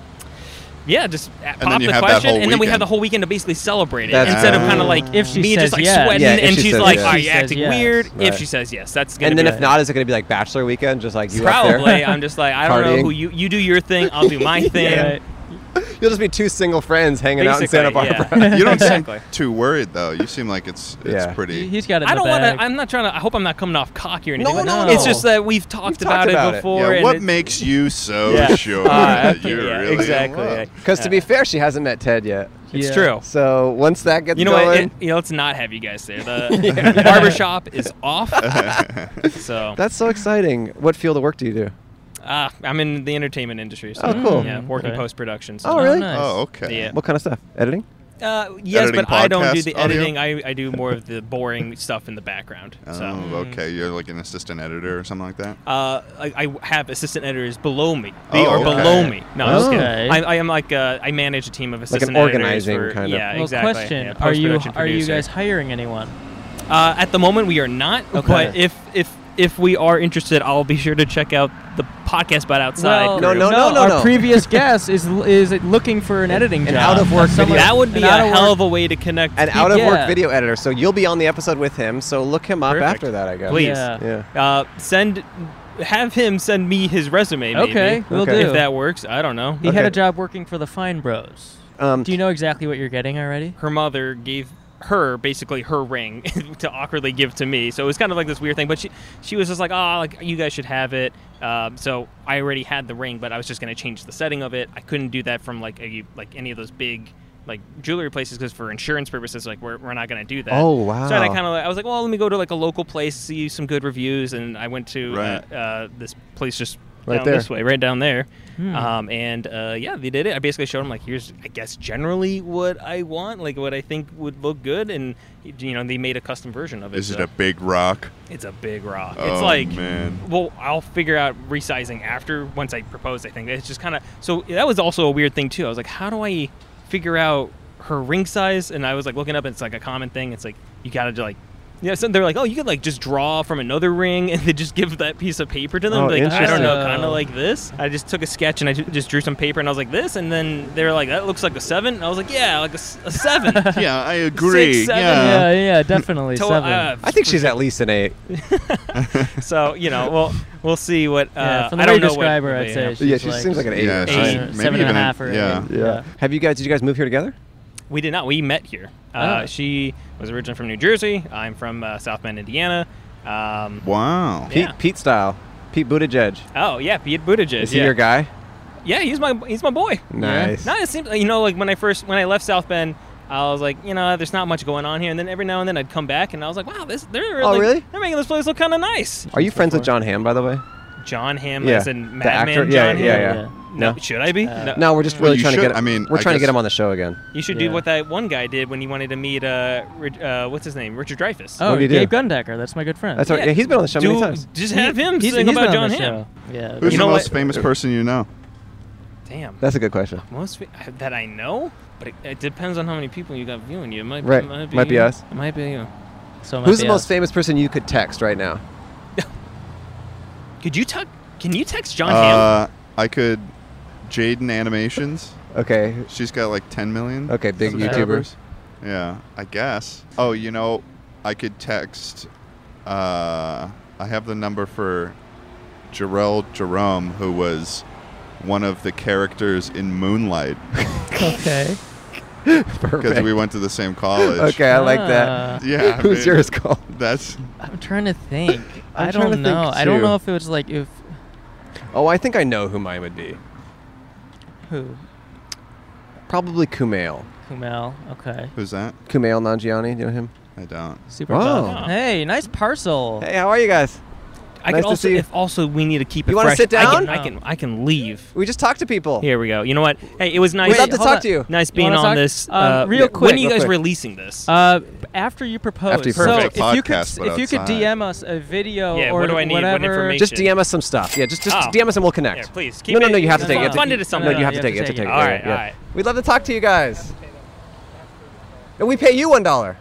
S9: yeah, just uh, pop
S8: then you
S9: the
S8: have that
S9: question,
S8: whole
S9: and then we have
S8: weekend.
S9: the whole weekend to basically celebrate it
S2: That's
S9: instead of
S8: true.
S9: kind of like
S4: If she
S9: me
S4: says
S9: just like
S4: yeah.
S9: sweating,
S2: Yeah, if
S9: and
S2: she
S9: she's
S2: says
S9: like,
S2: yes.
S9: "Are
S4: She
S9: you
S4: says
S9: acting
S4: yes.
S9: weird?"
S2: Right.
S9: If she says yes, that's gonna
S2: And
S9: be
S2: then
S9: it.
S2: if not, is it going to be like bachelor weekend, just like you up there?
S9: probably I'm just like I don't know who
S2: Partying.
S9: you you do your thing, I'll do my thing.
S4: Right.
S2: You'll just be two single friends hanging out in Santa
S9: Basically, yeah.
S2: Barbara.
S8: You don't seem
S9: Exactly.
S8: too worried though. You seem like it's it's
S2: Yeah.
S8: pretty.
S4: He- He's got it. In
S9: I don't
S4: want to.
S9: I'm not trying to. I hope I'm not coming off cocky or anything.
S2: No,
S9: but
S2: no,
S9: It's
S2: no.
S9: just that we've talked,
S2: talked about it.
S9: before.
S8: yeah,
S9: and
S8: what
S9: it-
S8: makes you so
S9: Yeah.
S8: sure
S9: All right,
S8: that you're
S9: yeah,
S8: really in
S9: exactly.
S8: love?
S2: Because to be fair, she hasn't met Ted yet.
S9: It's
S4: Yeah.
S9: true.
S2: So once that gets
S9: You know what?
S2: going,
S9: It, you know, let's not have you guys there. The the barbershop is off. so
S2: that's so exciting. What field of work do you do?
S9: ah, I'm in the entertainment industry. So
S2: Oh, cool.
S9: Yeah,
S4: Mm,
S9: working
S4: okay.
S9: post production. So
S2: Oh, really?
S4: nice.
S8: Oh, okay.
S9: Yeah.
S2: What kind of stuff? Editing?
S9: Uh, yes,
S8: Editing
S9: but I don't do
S8: podcast
S9: the
S8: audio?
S9: editing. I, I do more of the boring stuff in the background. So mm.
S8: Oh, okay. You're like an assistant editor or something like that.
S9: uh, I, I have assistant editors below me. They
S8: Oh,
S9: are
S8: okay.
S9: below me. No, I'm just kidding.
S4: Okay.
S9: I, I am like uh, I manage a team of
S2: an
S9: assistant editors
S2: organizing
S9: for-
S2: kind of-
S9: Yeah,
S4: well,
S9: exactly.
S4: question:
S9: Yeah,
S4: Are you
S9: post-production
S4: are you
S9: producer.
S4: guys hiring anyone?
S9: Uh, at the moment, we are not. But if if if we are interested, I'll be sure to check out the podcast. But outside,
S4: Well,
S2: No,
S9: group.
S2: no, no, no,
S4: Our
S2: no.
S4: previous guest is is looking for an editing
S2: an
S4: job.
S2: out-of-work
S4: Someone-
S2: video.
S9: that would be
S4: an
S9: a
S4: out-of-work-
S9: hell of a way to connect.
S2: An
S9: people.
S2: out of work
S4: yeah.
S2: video editor. So you'll be on the episode with him. So look him up
S9: Perfect.
S2: after that, I guess.
S9: Please.
S4: Yeah.
S2: Yeah.
S9: Uh, send, have him send me his resume. Maybe,
S4: Okay, we'll
S2: Okay.
S4: do.
S9: if that works. I don't know.
S4: he had
S2: Okay.
S4: a job working for the Fine Bros.
S2: Um,
S4: Do you know exactly what you're getting already?
S9: Her mother gave her basically her ring to awkwardly give to me. So it was kind of like this weird thing. But she she was just like, oh, like you guys should have it. Um, so I already had the ring, but I was just gonna change the setting of it. I couldn't do that from like a, like any of those big like jewelry places because for insurance purposes, like we're, we're not gonna do that.
S2: Oh,
S9: So then I
S2: wow.
S9: kind of I was like, well, let me go to like a local place, see some good reviews, and I went to
S8: Right.
S9: uh, uh, this place just
S2: Right
S9: down
S2: there.
S9: this way, right down there. Um, and uh, yeah, they did it. I basically showed him like, here's, I guess, generally what I want, like what I think would look good, and you know, they made a custom version of it.
S8: Is it
S9: so-
S8: a big rock?
S9: It's a big rock.
S8: Oh,
S9: it's like,
S8: man.
S9: well, I'll figure out resizing after once I propose. I think it's just kind of so that was also a weird thing too. I was like, how do I figure out her ring size? And I was like looking up, and it's like a common thing. It's like you gotta do, like. Yeah, so they're like, oh, you could like just draw from another ring, and then just give that piece of paper to them.
S2: Oh,
S9: like, I don't know,
S1: interesting.
S9: kind of like this. I just took a sketch and I ju- just drew some paper, and I was like this, and then they were like, that looks like a seven, and I was like, yeah, like a, s- a seven.
S8: Yeah, I agree.
S9: seven,
S2: Uh,
S8: yeah.
S1: yeah, yeah, definitely
S9: To-
S1: seven.
S9: uh,
S2: I think she's at least an eight.
S9: So you know, we'll we'll see what. Uh,
S1: yeah, from the
S9: I
S1: way you
S9: don't know
S1: describe
S9: what,
S1: her, I'd
S9: yeah.
S1: say
S2: Yeah,
S1: she's
S2: she seems like an eight.
S8: Yeah,
S9: Eight,
S8: she's
S9: uh,
S8: maybe
S1: seven and a
S8: even
S1: half or
S8: yeah.
S1: eight. Yeah.
S2: Have you guys? Did you guys move here together?
S9: We did not. We met here. Uh,
S1: Oh.
S9: She was originally from New Jersey. I'm from uh, South Bend, Indiana. Um,
S8: Wow.
S9: Yeah.
S2: Pete, Pete style. Pete Buttigieg.
S9: oh yeah, Pete Buttigieg.
S2: Is
S9: yeah.
S2: he your guy?
S9: Yeah, he's my he's my boy.
S2: Nice.
S9: No, it seems you know like when I first when I left South Bend, I was like you know there's not much going on here, and then every now and then I'd come back and I was like wow this they're
S2: Oh,
S9: like,
S2: really?
S9: they're making this place look kind of nice.
S2: Are you friends with John Hamm, by the way?
S9: John Hamm
S2: Yeah,
S9: as
S2: the
S9: in Madman
S2: actor?
S9: John
S2: Yeah,
S9: Hamm?
S2: yeah, yeah.
S9: No,
S2: No.
S9: should I be?
S1: Uh,
S2: No, we're just
S8: Well,
S2: really
S8: you
S2: trying
S8: should-
S2: to get.
S8: I mean,
S2: we're
S8: I
S2: trying to
S8: guess-
S2: get him on the show again.
S9: You should
S1: Yeah.
S9: do what that one guy did when he wanted to meet uh, Rich- uh what's his name, Richard Dreyfuss.
S1: Oh,
S2: What do you do?
S1: Gabe Gundecker, that's my good friend.
S2: That's right. Yeah, he's been on the show many
S9: Do-
S2: times.
S9: Just have him
S1: He's-
S9: sing
S1: he's
S9: about
S1: been
S9: John
S1: on the
S9: Hamm.
S1: show. Yeah.
S8: Who's
S9: You know
S8: the
S9: what?
S8: most famous person you know?
S9: Damn,
S2: That's a good question.
S9: most fa- that I know, but it, it depends on how many people you got viewing you. It might,
S2: Right.
S9: it might, be,
S2: Might be us.
S9: It might be you.
S1: So
S2: Who's the
S1: Matthias.
S2: most famous person you could text right now?
S9: Could you tuck? Can you text John Hamm?
S8: Uh, I could. Jaden Animations.
S2: Okay.
S8: She's got like 10 million.
S2: Okay, big YouTubers.
S8: subscribers. Yeah, I guess. Oh, you know, I could text. Uh, I have the number for Jarrell Jerome, who was one of the characters in Moonlight
S1: Okay.
S8: because
S2: Perfect.
S8: we went to the same college.
S2: okay, I like that.
S1: Ah,
S8: Yeah. I
S2: Who's
S8: mean,
S2: yours called?
S8: That's
S1: I'm trying to think.
S2: I'm
S1: I
S2: trying to
S1: don't
S2: think
S1: know. I don't
S2: too.
S1: know if it was like if
S2: Oh, I think I know who mine would be.
S1: who
S2: Probably Kumail.
S1: Kumail. Okay.
S8: who's that?
S2: Kumail Nanjiani. Do you know him?
S8: I don't.
S1: Super.
S2: Wow.
S1: buff. Hey, nice parcel.
S2: Hey, how are you guys?
S9: I
S2: nice
S9: can
S2: to
S9: also,
S2: see you.
S9: if also we need to keep it
S2: You wanna
S9: fresh.
S2: sit
S9: I
S2: down?
S9: can, I can, I can leave.
S2: We just talked to people.
S9: Here we go. You know what? Hey, it was nice.
S2: We'd love to
S1: hold
S2: talk
S1: on.
S2: to you.
S9: Nice
S1: You
S9: being
S1: wanna
S9: on
S1: talk?
S9: this. uh,
S1: Um, real
S9: When
S1: quick,
S9: are you
S2: real
S9: guys
S2: quick.
S9: releasing this?
S1: Uh, after you propose,
S2: After you
S1: so
S2: propose.
S1: if you could,
S8: Podcast,
S1: s-
S8: but
S1: if you could
S8: outside.
S1: DM us a video
S9: Yeah,
S1: or
S9: what do I need? What
S1: whatever,
S9: information?
S2: Just DM us some stuff. Yeah, just just
S9: Oh.
S2: DM us and we'll connect.
S9: yeah, please. Keep
S2: No, no,
S9: it-
S2: no. You have to take it. You have to-
S9: Fund it to
S2: No,
S9: something.
S2: you have to take it. You have to take it.
S9: All right,
S2: Yeah,
S9: all
S2: yeah.
S9: right.
S2: We'd love to talk to you guys. And we pay you one dollar.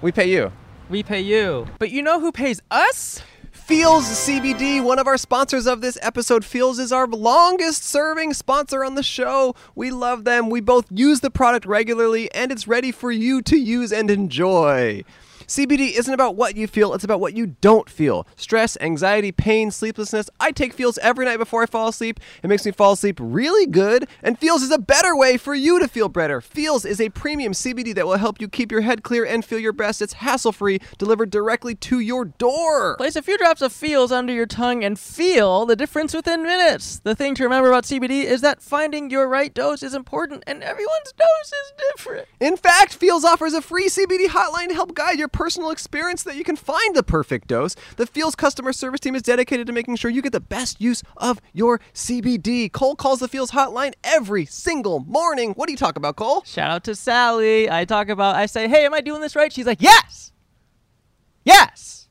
S2: We pay you.
S1: We pay you, but you know who pays us?
S2: Feels CBD, one of our sponsors of this episode. Feels is our longest serving sponsor on the show. We love them. We both use the product regularly, and it's ready for you to use and enjoy. CBD isn't about what you feel, it's about what you don't feel. Stress, anxiety, pain, sleeplessness. I take Feels every night before I fall asleep. It makes me fall asleep really good, and Feels is a better way for you to feel better. Feels is a premium CBD that will help you keep your head clear and feel your best. It's hassle free, delivered directly to your door.
S1: Place a few drops of feels under your tongue and feel the difference within minutes. The thing to remember about CBD is that finding your right dose is important, and everyone's dose is different.
S2: In fact, Feels offers a free CBD hotline to help guide your personal experience so that you can find the perfect dose. The Feels customer service team is dedicated to making sure you get the best use of your CBD. Cole calls the Feels hotline every single morning. What do you talk about, Cole?
S1: Shout out to Sally. I talk about. I say, "Hey, am I doing this right?" She's like, "Yes, yes."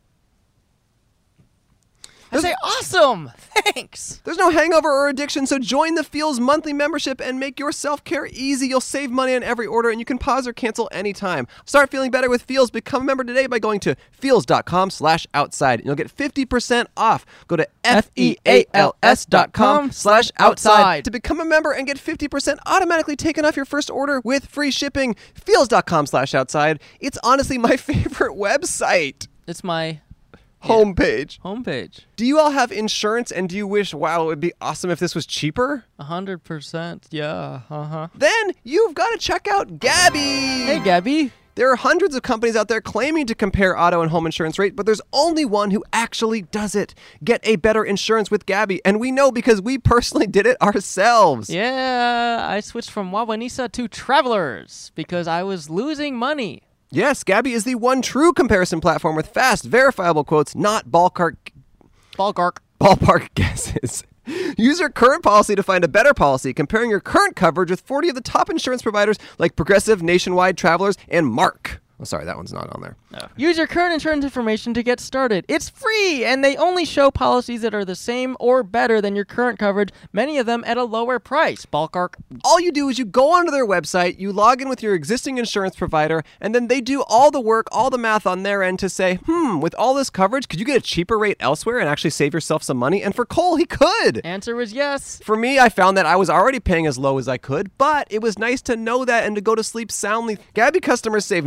S1: I say, "Awesome, thanks."
S2: There's no hangover or addiction, so join the Feels monthly membership and make your self care easy. You'll save money on every order and you can pause or cancel anytime. Start feeling better with Feels. Become a member today by going to feels.com slash outside and you'll get 50% off. Go to F E A L S dot com slash outside to become a member and get 50% automatically taken off your first order with free shipping. Feels.com slash outside. It's honestly my favorite website
S1: It's my
S2: homepage.
S1: homepage.
S2: Do you all have insurance and do you wish, wow, it would be awesome if this was cheaper?
S1: A hundred percent. Yeah. Uh huh.
S2: then you've got to check out Gabby.
S1: Hey, Gabby.
S2: There are hundreds of companies out there claiming to compare auto and home insurance rate, but there's only one who actually does it. Get a better insurance with Gabby, and we know because we personally did it ourselves.
S1: Yeah, I switched from Wawanisa to Travelers because I was losing money.
S2: Yes, Gabby is the one true comparison platform with fast, verifiable quotes, not ballpark
S1: Ballgark.
S2: ballpark guesses. Use your current policy to find a better policy, comparing your current coverage with 40 of the top insurance providers like Progressive, Nationwide, Travelers, and Mark. Oh, sorry, that one's not on there.
S1: Use your current insurance information to get started. It's free, and they only show policies that are the same or better than your current coverage, many of them at a lower price. Bulk arc.
S2: all you do is you go onto their website, you log in with your existing insurance provider, and then they do all the work, all the math on their end to say, hmm, with all this coverage, could you get a cheaper rate elsewhere and actually save yourself some money? And for Cole, he could.
S1: Answer was yes.
S2: For me, I found that I was already paying as low as I could, but it was nice to know that and to go to sleep soundly. Gabby customers save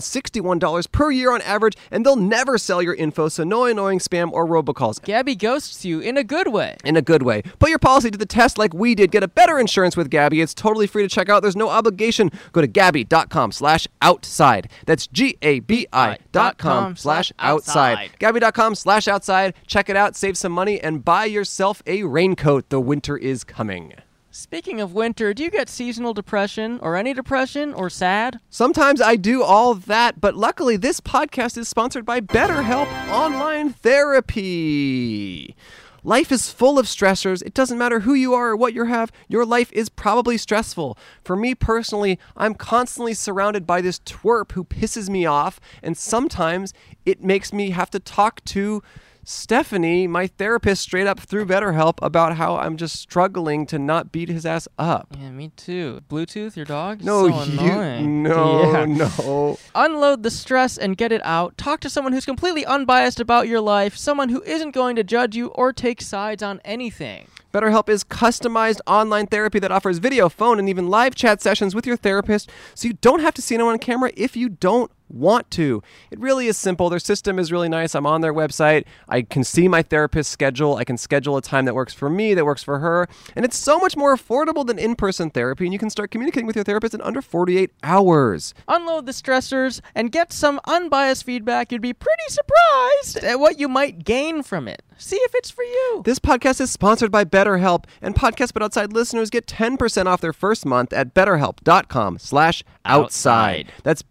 S2: $961 per year on average, and they'll never sell your info, so no annoying spam or robocalls
S1: Gabby ghosts you in a good way.
S2: in a good way. Put your policy to the test like we did. Get a better insurance with Gabby. It's totally free to check out. There's no obligation. Go to gabby.com slash outside. That's G-A-B-I dot com slash outside. Gabby.com slash outside. Check it out. Save some money and buy yourself a raincoat. The winter is coming.
S1: Speaking of winter, do you get seasonal depression or any depression or sad?
S2: Sometimes I do all that, but luckily this podcast is sponsored by BetterHelp Online Therapy. Life is full of stressors. It doesn't matter who you are or what you have, your life is probably stressful. For me personally, I'm constantly surrounded by this twerp who pisses me off, and sometimes it makes me have to talk to Stephanie, my therapist, straight up through BetterHelp about how I'm just struggling to not beat his ass up.
S4: Yeah, me too. Bluetooth, your dog?
S2: No,
S4: so
S2: you.
S4: annoying.
S2: No,
S4: Yeah.
S2: no.
S1: Unload the stress and get it out. Talk to someone who's completely unbiased about your life, someone who isn't going to judge you or take sides on anything.
S2: BetterHelp is customized online therapy that offers video, phone, and even live chat sessions with your therapist, so you don't have to see anyone on camera if you don't want to. It really is simple. Their system is really nice. I'm on their website. I can see my therapist's schedule. I can schedule a time that works for me, that works for her. And it's so much more affordable than in person therapy, and you can start communicating with your therapist in under 48 hours.
S1: unload the stressors, and get some unbiased feedback, you'd be pretty surprised at what you might gain from it. See if it's for you.
S2: This podcast is sponsored by BetterHelp, and Podcast But Outside listeners get 10% off their first month at betterhelp.com slash outside. That's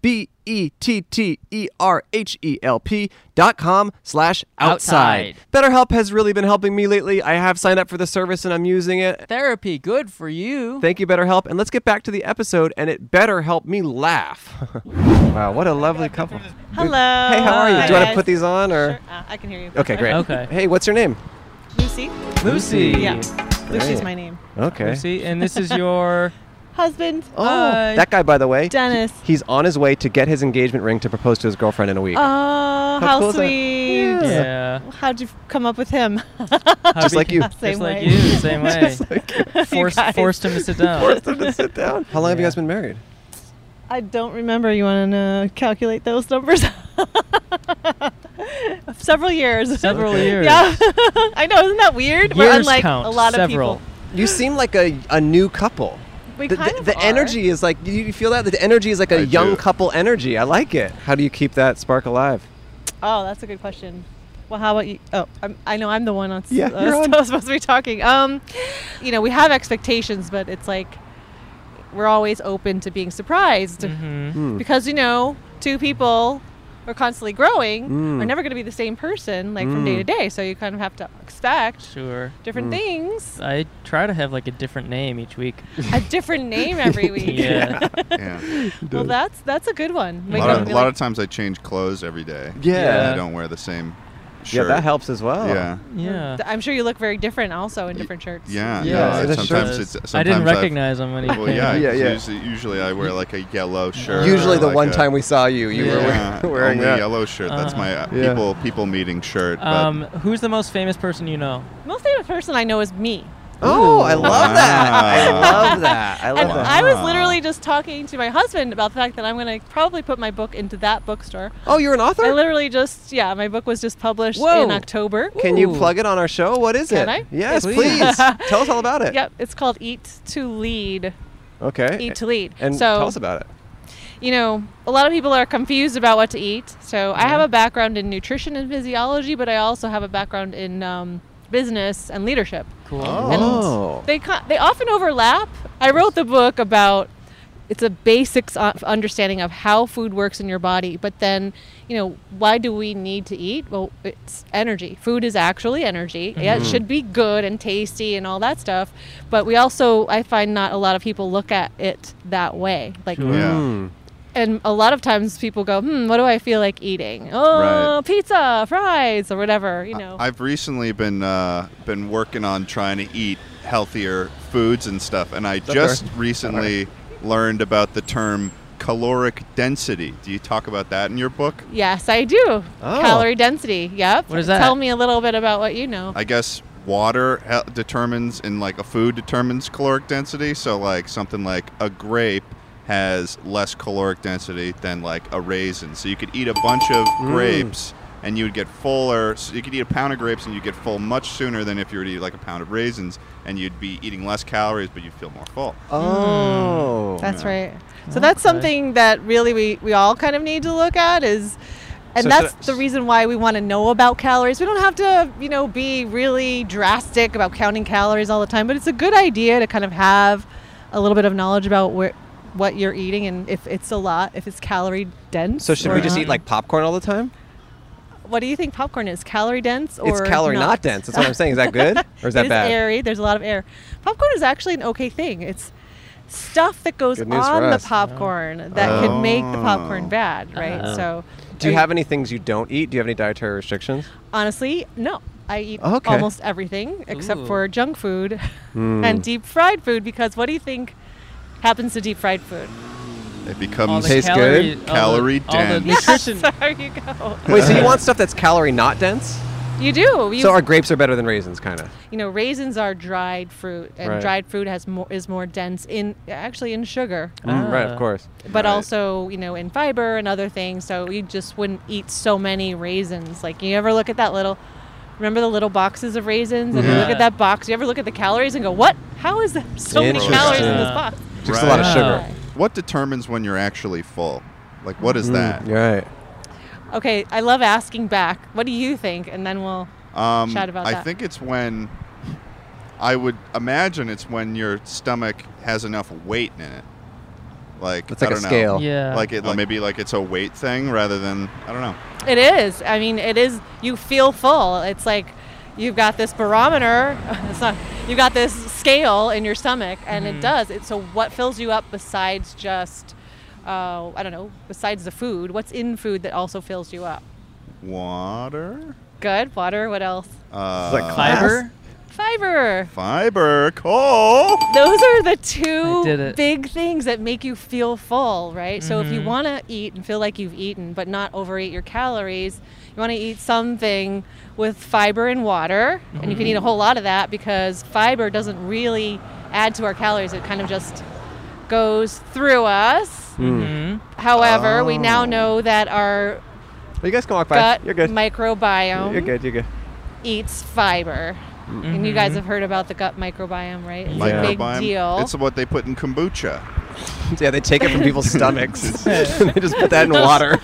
S2: E B-E-T-T-E-R-H-E-L-P E dot com slash outside.
S4: Outside.
S2: BetterHelp has really been helping me lately. I have signed up for the service and I'm using it.
S1: Therapy, good for you.
S2: Thank you, BetterHelp. And let's get back to the episode, and it better help me laugh. wow, what a lovely couple.
S10: Hello.
S2: Hey, how are you?
S10: Hi,
S2: Do you want to
S10: guys.
S2: put these on? or?
S10: Sure. Uh, I can hear you.
S2: Okay, great.
S4: Okay.
S2: Hey, what's your name?
S10: Lucy.
S4: Lucy.
S10: Yeah. Lucy's
S2: Great.
S10: my name.
S2: Okay.
S4: Lucy, and this is your.
S10: Husband. Uh,
S2: Oh,
S4: Hi.
S2: that guy, by the way.
S10: Dennis.
S2: he- he's on his way to get his engagement ring to propose to his girlfriend in a week.
S10: Oh, how
S2: cool is that?
S10: sweet.
S4: yeah.
S10: How'd you come up with him?
S2: Just like you.
S10: Same way.
S4: Just like you, same way.
S10: You
S4: forced,
S10: guys.
S4: forced him to sit down.
S2: Forced him to sit down. How long have you
S4: Yeah.
S2: guys been married?
S10: I don't remember. You want to calculate those numbers? Several years.
S4: Several years.
S10: Yeah. I know. Isn't that weird? We're
S4: Years
S10: unlike
S4: count.
S10: a lot
S4: Several.
S10: of people.
S2: You seem like a, a new couple.
S10: We
S2: The,
S10: kind
S2: the,
S10: of
S2: the
S10: are.
S2: energy is like, you you feel that? The energy is like a
S8: I
S2: young
S8: do.
S2: couple energy. I like it. How do you keep that spark alive?
S10: Oh, that's a good question. Well, how about you? Oh, I'm, I know I'm the one that's
S2: Yeah,
S10: uh,
S2: you're on.
S10: still supposed to be talking. Um, you know, we have expectations, but it's like we're always open to being surprised
S8: Mm-hmm.
S4: Mhm.
S2: Hmm.
S10: because you know, two people are constantly growing
S2: Mm.
S10: are never going to be the same person like from day
S2: Hmm.
S10: to day. So you kind of have to expect
S4: Sure.
S10: different things,
S4: I try to have like a different name each week.
S10: a different name every week.
S4: Yeah.
S8: Yeah.
S10: Well, that's that's a good one.
S8: a
S10: Wake
S8: lot,
S10: up
S8: of,
S10: and be
S8: lot
S10: like,
S8: of times I change clothes every day.
S2: Yeah.
S8: I don't wear the same
S2: Yeah,
S8: shirt.
S2: that helps as well.
S8: Yeah.
S4: Yeah.
S10: I'm sure you look very different also in different shirts.
S8: Yeah.
S2: Yeah,
S8: no,
S2: and
S8: it's
S2: the
S8: sometimes
S4: shirts.
S8: it's, sometimes
S4: I didn't
S8: I've-
S4: recognize him when he
S8: Well,
S4: came.
S8: yeah,
S2: Yeah, yeah.
S8: Usually, usually I wear like a yellow shirt.
S2: Usually,
S8: or
S2: the
S8: like
S2: one
S8: a-
S2: time we saw you, you
S8: yeah,
S2: were
S8: only
S2: wearing that. Uh-huh.
S8: yellow shirt. That's my uh,
S2: Yeah.
S8: people people meeting shirt. But
S4: Um, who's the most famous person you know?
S10: Most famous person I know is me.
S2: Oh, I love that. I
S8: Wow.
S2: love that. I love
S10: And
S2: that.
S10: I was
S8: Wow.
S10: literally just talking to my husband about the fact that I'm going to probably put my book into that bookstore.
S2: Oh, you're an author?
S10: I literally just, yeah, my book was just published
S1: Whoa.
S10: in October.
S2: Can you
S1: Ooh.
S2: plug it on our show? What is
S10: Can
S2: it?
S10: I?
S2: Yes,
S10: Please.
S2: please. tell us all about it.
S10: Yep, it's called Eat to Lead.
S2: Okay.
S10: Eat to Lead.
S2: and
S10: so,
S2: tell us about it.
S10: you know, a lot of people are confused about what to eat. So, I
S2: Mm-hmm.
S10: have a background in nutrition and physiology, but I also have a background in um, business and leadership.
S8: Oh.
S4: Cool.
S2: Oh.
S10: Oh. And they co- they often overlap. I wrote the book about it's a basics o- understanding of how food works in your body. But then, you know, why do we need to eat? Well, it's energy. Food is actually energy. Yeah, it
S11: Mhm.
S10: should be good and tasty and all that stuff. But we also, I find, not a lot of people look at it that way. Like,
S8: Yeah.
S10: and a lot of times people go, hmm, what do I feel like eating? Oh,
S8: Right.
S10: pizza, fries, or whatever, you
S4: Mm.
S10: know.
S8: I've recently been uh, been working on trying to eat healthier foods and stuff, and I
S12: that
S8: just
S12: fair?
S8: recently learned about the term caloric density. Do you talk about that in your book?
S10: yes, I do.
S8: Oh.
S10: Calorie density. Yep.
S8: What is that?
S10: Tell me a little bit about what you know.
S8: I guess water he- determines and like a food determines caloric density. So like something like a grape has less caloric density than like a raisin. So you could eat a bunch of
S12: Mm.
S8: grapes and you would get fuller. So you could eat a pound of grapes and you get full much sooner than if you were to eat like a pound of raisins and you'd be eating less calories but you'd feel more full.
S2: Oh.
S10: Mm. That's right. So that's something that really we, we all kind of need to look at is and
S2: So
S10: that's
S2: should
S10: the reason why we want to know about calories. We don't have to, you know, be really drastic about counting calories all the time, but it's a good idea to kind of have a little bit of knowledge about where what you're eating and if it's a lot, if it's calorie dense.
S2: So should
S10: or
S2: we just
S10: not.
S2: eat like popcorn all the time?
S10: What do you think popcorn is? Calorie dense or
S2: It's calorie not,
S10: not
S2: dense. That's what I'm saying. Is that good or is that
S10: it
S2: bad?
S10: airy. There's a lot of air. Popcorn is actually an okay thing. It's stuff that goes
S2: Good news for
S10: on the
S2: us.
S10: popcorn that could make the popcorn bad, right?
S2: Oh.
S10: So,
S2: do you
S10: I-
S2: have any things you don't eat? Do you have any dietary restrictions?
S10: honestly, no. I eat
S2: Oh, Okay.
S10: almost everything except
S2: Ooh.
S10: for junk food
S2: Mm.
S10: and deep fried food because what do you think happens to deep fried food?
S8: It becomes
S2: the Tastes calorie- good? all the-
S8: calorie
S2: all the
S8: dense.
S10: Nutrition. there you go.
S2: Wait, so you want stuff that's calorie not dense?
S10: You do. You
S2: so our grapes are better than raisins, kind of.
S10: you know raisins are dried fruit and
S2: Right.
S10: dried fruit has more is more dense in actually in sugar
S2: Mm,
S4: Uh,
S2: right, of Ah. course.
S10: but
S2: Right.
S10: also you know in fiber and other things so you just wouldn't eat so many raisins like you ever look at that little remember the little boxes of raisins and you look
S2: Yeah.
S10: at that box you ever look at the calories and go what how is there so many calories in this box
S2: Just a lot of sugar.
S8: What determines when you're actually full? Like what is
S2: Mm,
S8: that?
S2: Right.
S10: okay i love asking back what do you think and then we'll
S8: Um,
S10: chat about
S8: I
S10: that
S8: think it's when I would imagine it's when your stomach has enough weight in it. Like
S2: It's like
S8: I
S2: a
S8: don't know.
S2: scale. Yeah.
S8: Like it, like, maybe like it's a weight thing rather than I don't know.
S10: It is. I mean, it is. You feel full. It's like you've got this barometer. It's not. You got this scale in your stomach, and
S11: Mhm.
S10: it does. It, so, what fills you up besides just, uh, I don't know, besides the food? What's in food that also fills you up?
S8: Water.
S10: Good water. What else?
S8: Uh,
S5: like fiber?
S10: Fiber.
S8: Fiber. Coal.
S10: Those are the
S8: I did
S10: two
S8: it. Mm-hmm.
S10: big things that make you feel full, right? So if you
S11: Mhm.
S10: want to eat and feel like you've eaten, but not overeat your calories, you want to eat something with fiber and water, and you can eat
S8: Mm-hmm.
S10: a whole lot of that because fiber doesn't really add to our calories. It kind of just goes through us.
S2: Mm.
S8: Mm-hmm.
S10: However, we now
S2: Oh.
S10: know that our
S2: you guys can walk by.
S10: gut
S2: You're good.
S10: microbiome
S2: You're good. You're good.
S10: eats fiber. And you guys
S8: Mhm.
S10: have heard about the gut microbiome, right? It's a big
S8: Microbiome.
S10: deal.
S8: It's what they put in kombucha.
S2: yeah, they take it from people's stomachs. they just put that in water.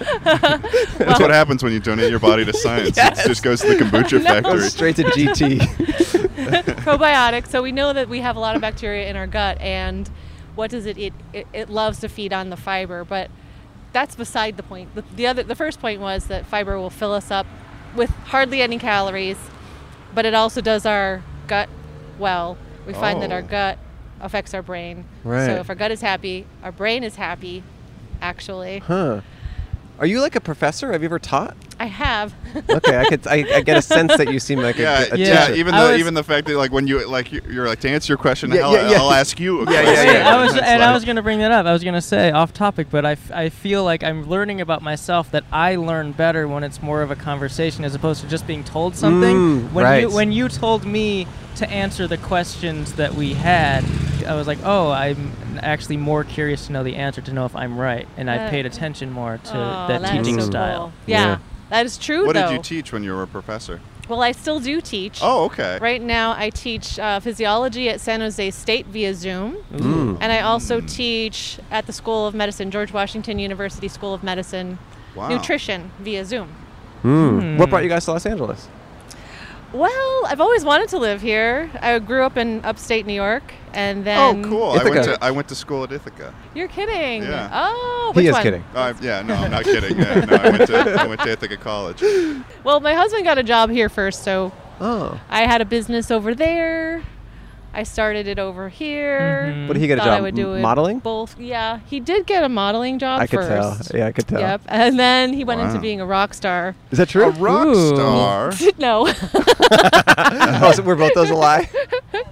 S8: That's what happens when you donate your body to science.
S10: Yes.
S8: It just goes to the kombucha
S10: No.
S8: factory.
S10: Goes
S2: straight to GT.
S10: probiotics. So we know that we have a lot of bacteria in our gut, and what does it eat? It, it loves to feed on the fiber, but that's beside the point. The, the other, the first point was that fiber will fill us up with hardly any calories, but it also does our gut well. We find that our
S11: Oh.
S10: gut affects our brain.
S2: Right.
S10: So if our gut is happy, our brain is happy. Actually,
S2: Huh. Are you like a professor? Have you ever taught?
S10: I have.
S2: Okay, I could. I, I get a sense that you seem like
S8: yeah,
S2: a, a
S8: yeah.
S2: teacher.
S8: Even the even the fact that like when you like you- you're like to answer your question,
S2: Yeah,
S8: I'll,
S2: yeah, yeah.
S8: I'll ask you. A
S2: Yeah, yeah,
S8: question.
S2: yeah.
S4: I was,
S8: It's
S4: and I
S8: like-
S4: was gonna bring that up. I was gonna say off topic, but I, f- I feel like I'm learning about myself that I learn better when it's more of a conversation as opposed to just being told something.
S2: Mm,
S4: when you
S2: right.
S4: when you told me to answer the questions that we had, I was like, oh, I'm actually more curious to know the answer to know if I'm right, and I
S10: Yeah.
S4: paid attention more to
S10: Oh,
S4: that
S10: that's
S4: teaching
S10: so
S4: style.
S10: cool. Yeah, that is true.
S8: What
S10: though.
S8: did you teach when you were a professor?
S10: Well, I still do teach.
S8: Oh, okay.
S10: Right now, I teach uh, physiology at San Jose State via Zoom.
S2: Hmm,
S8: Ooh.
S10: And I also teach at the School of Medicine, George Washington University School of Medicine,
S2: Wow.
S10: nutrition via Zoom.
S2: Hmm. What brought you guys to Los Angeles?
S10: Well, I've always wanted to live here. I grew up in upstate New York, and then.
S8: oh, cool! I went to I went to school at Ithaca.
S10: You're kidding.
S8: Yeah.
S10: Oh, which one?
S8: Uh, yeah, no, I'm not kidding. Yeah, no, I went to I went to Ithaca College.
S10: Well, my husband got a job here first, so
S2: Oh.
S10: I had a business over there. I started it over here.
S2: What Mm-hmm. did he get a
S10: Hmm. Thought I
S2: job?
S10: would do
S2: M-
S10: it
S2: modeling?
S10: Both. Yeah, he did get a modeling job
S2: I could tell.
S10: first.
S2: Yeah, I could tell.
S10: Yep, and then he went into
S2: Wow.
S10: being a rock star.
S2: Is that true? A rock Ooh. star?
S10: no.
S2: oh, so we're both those a lie.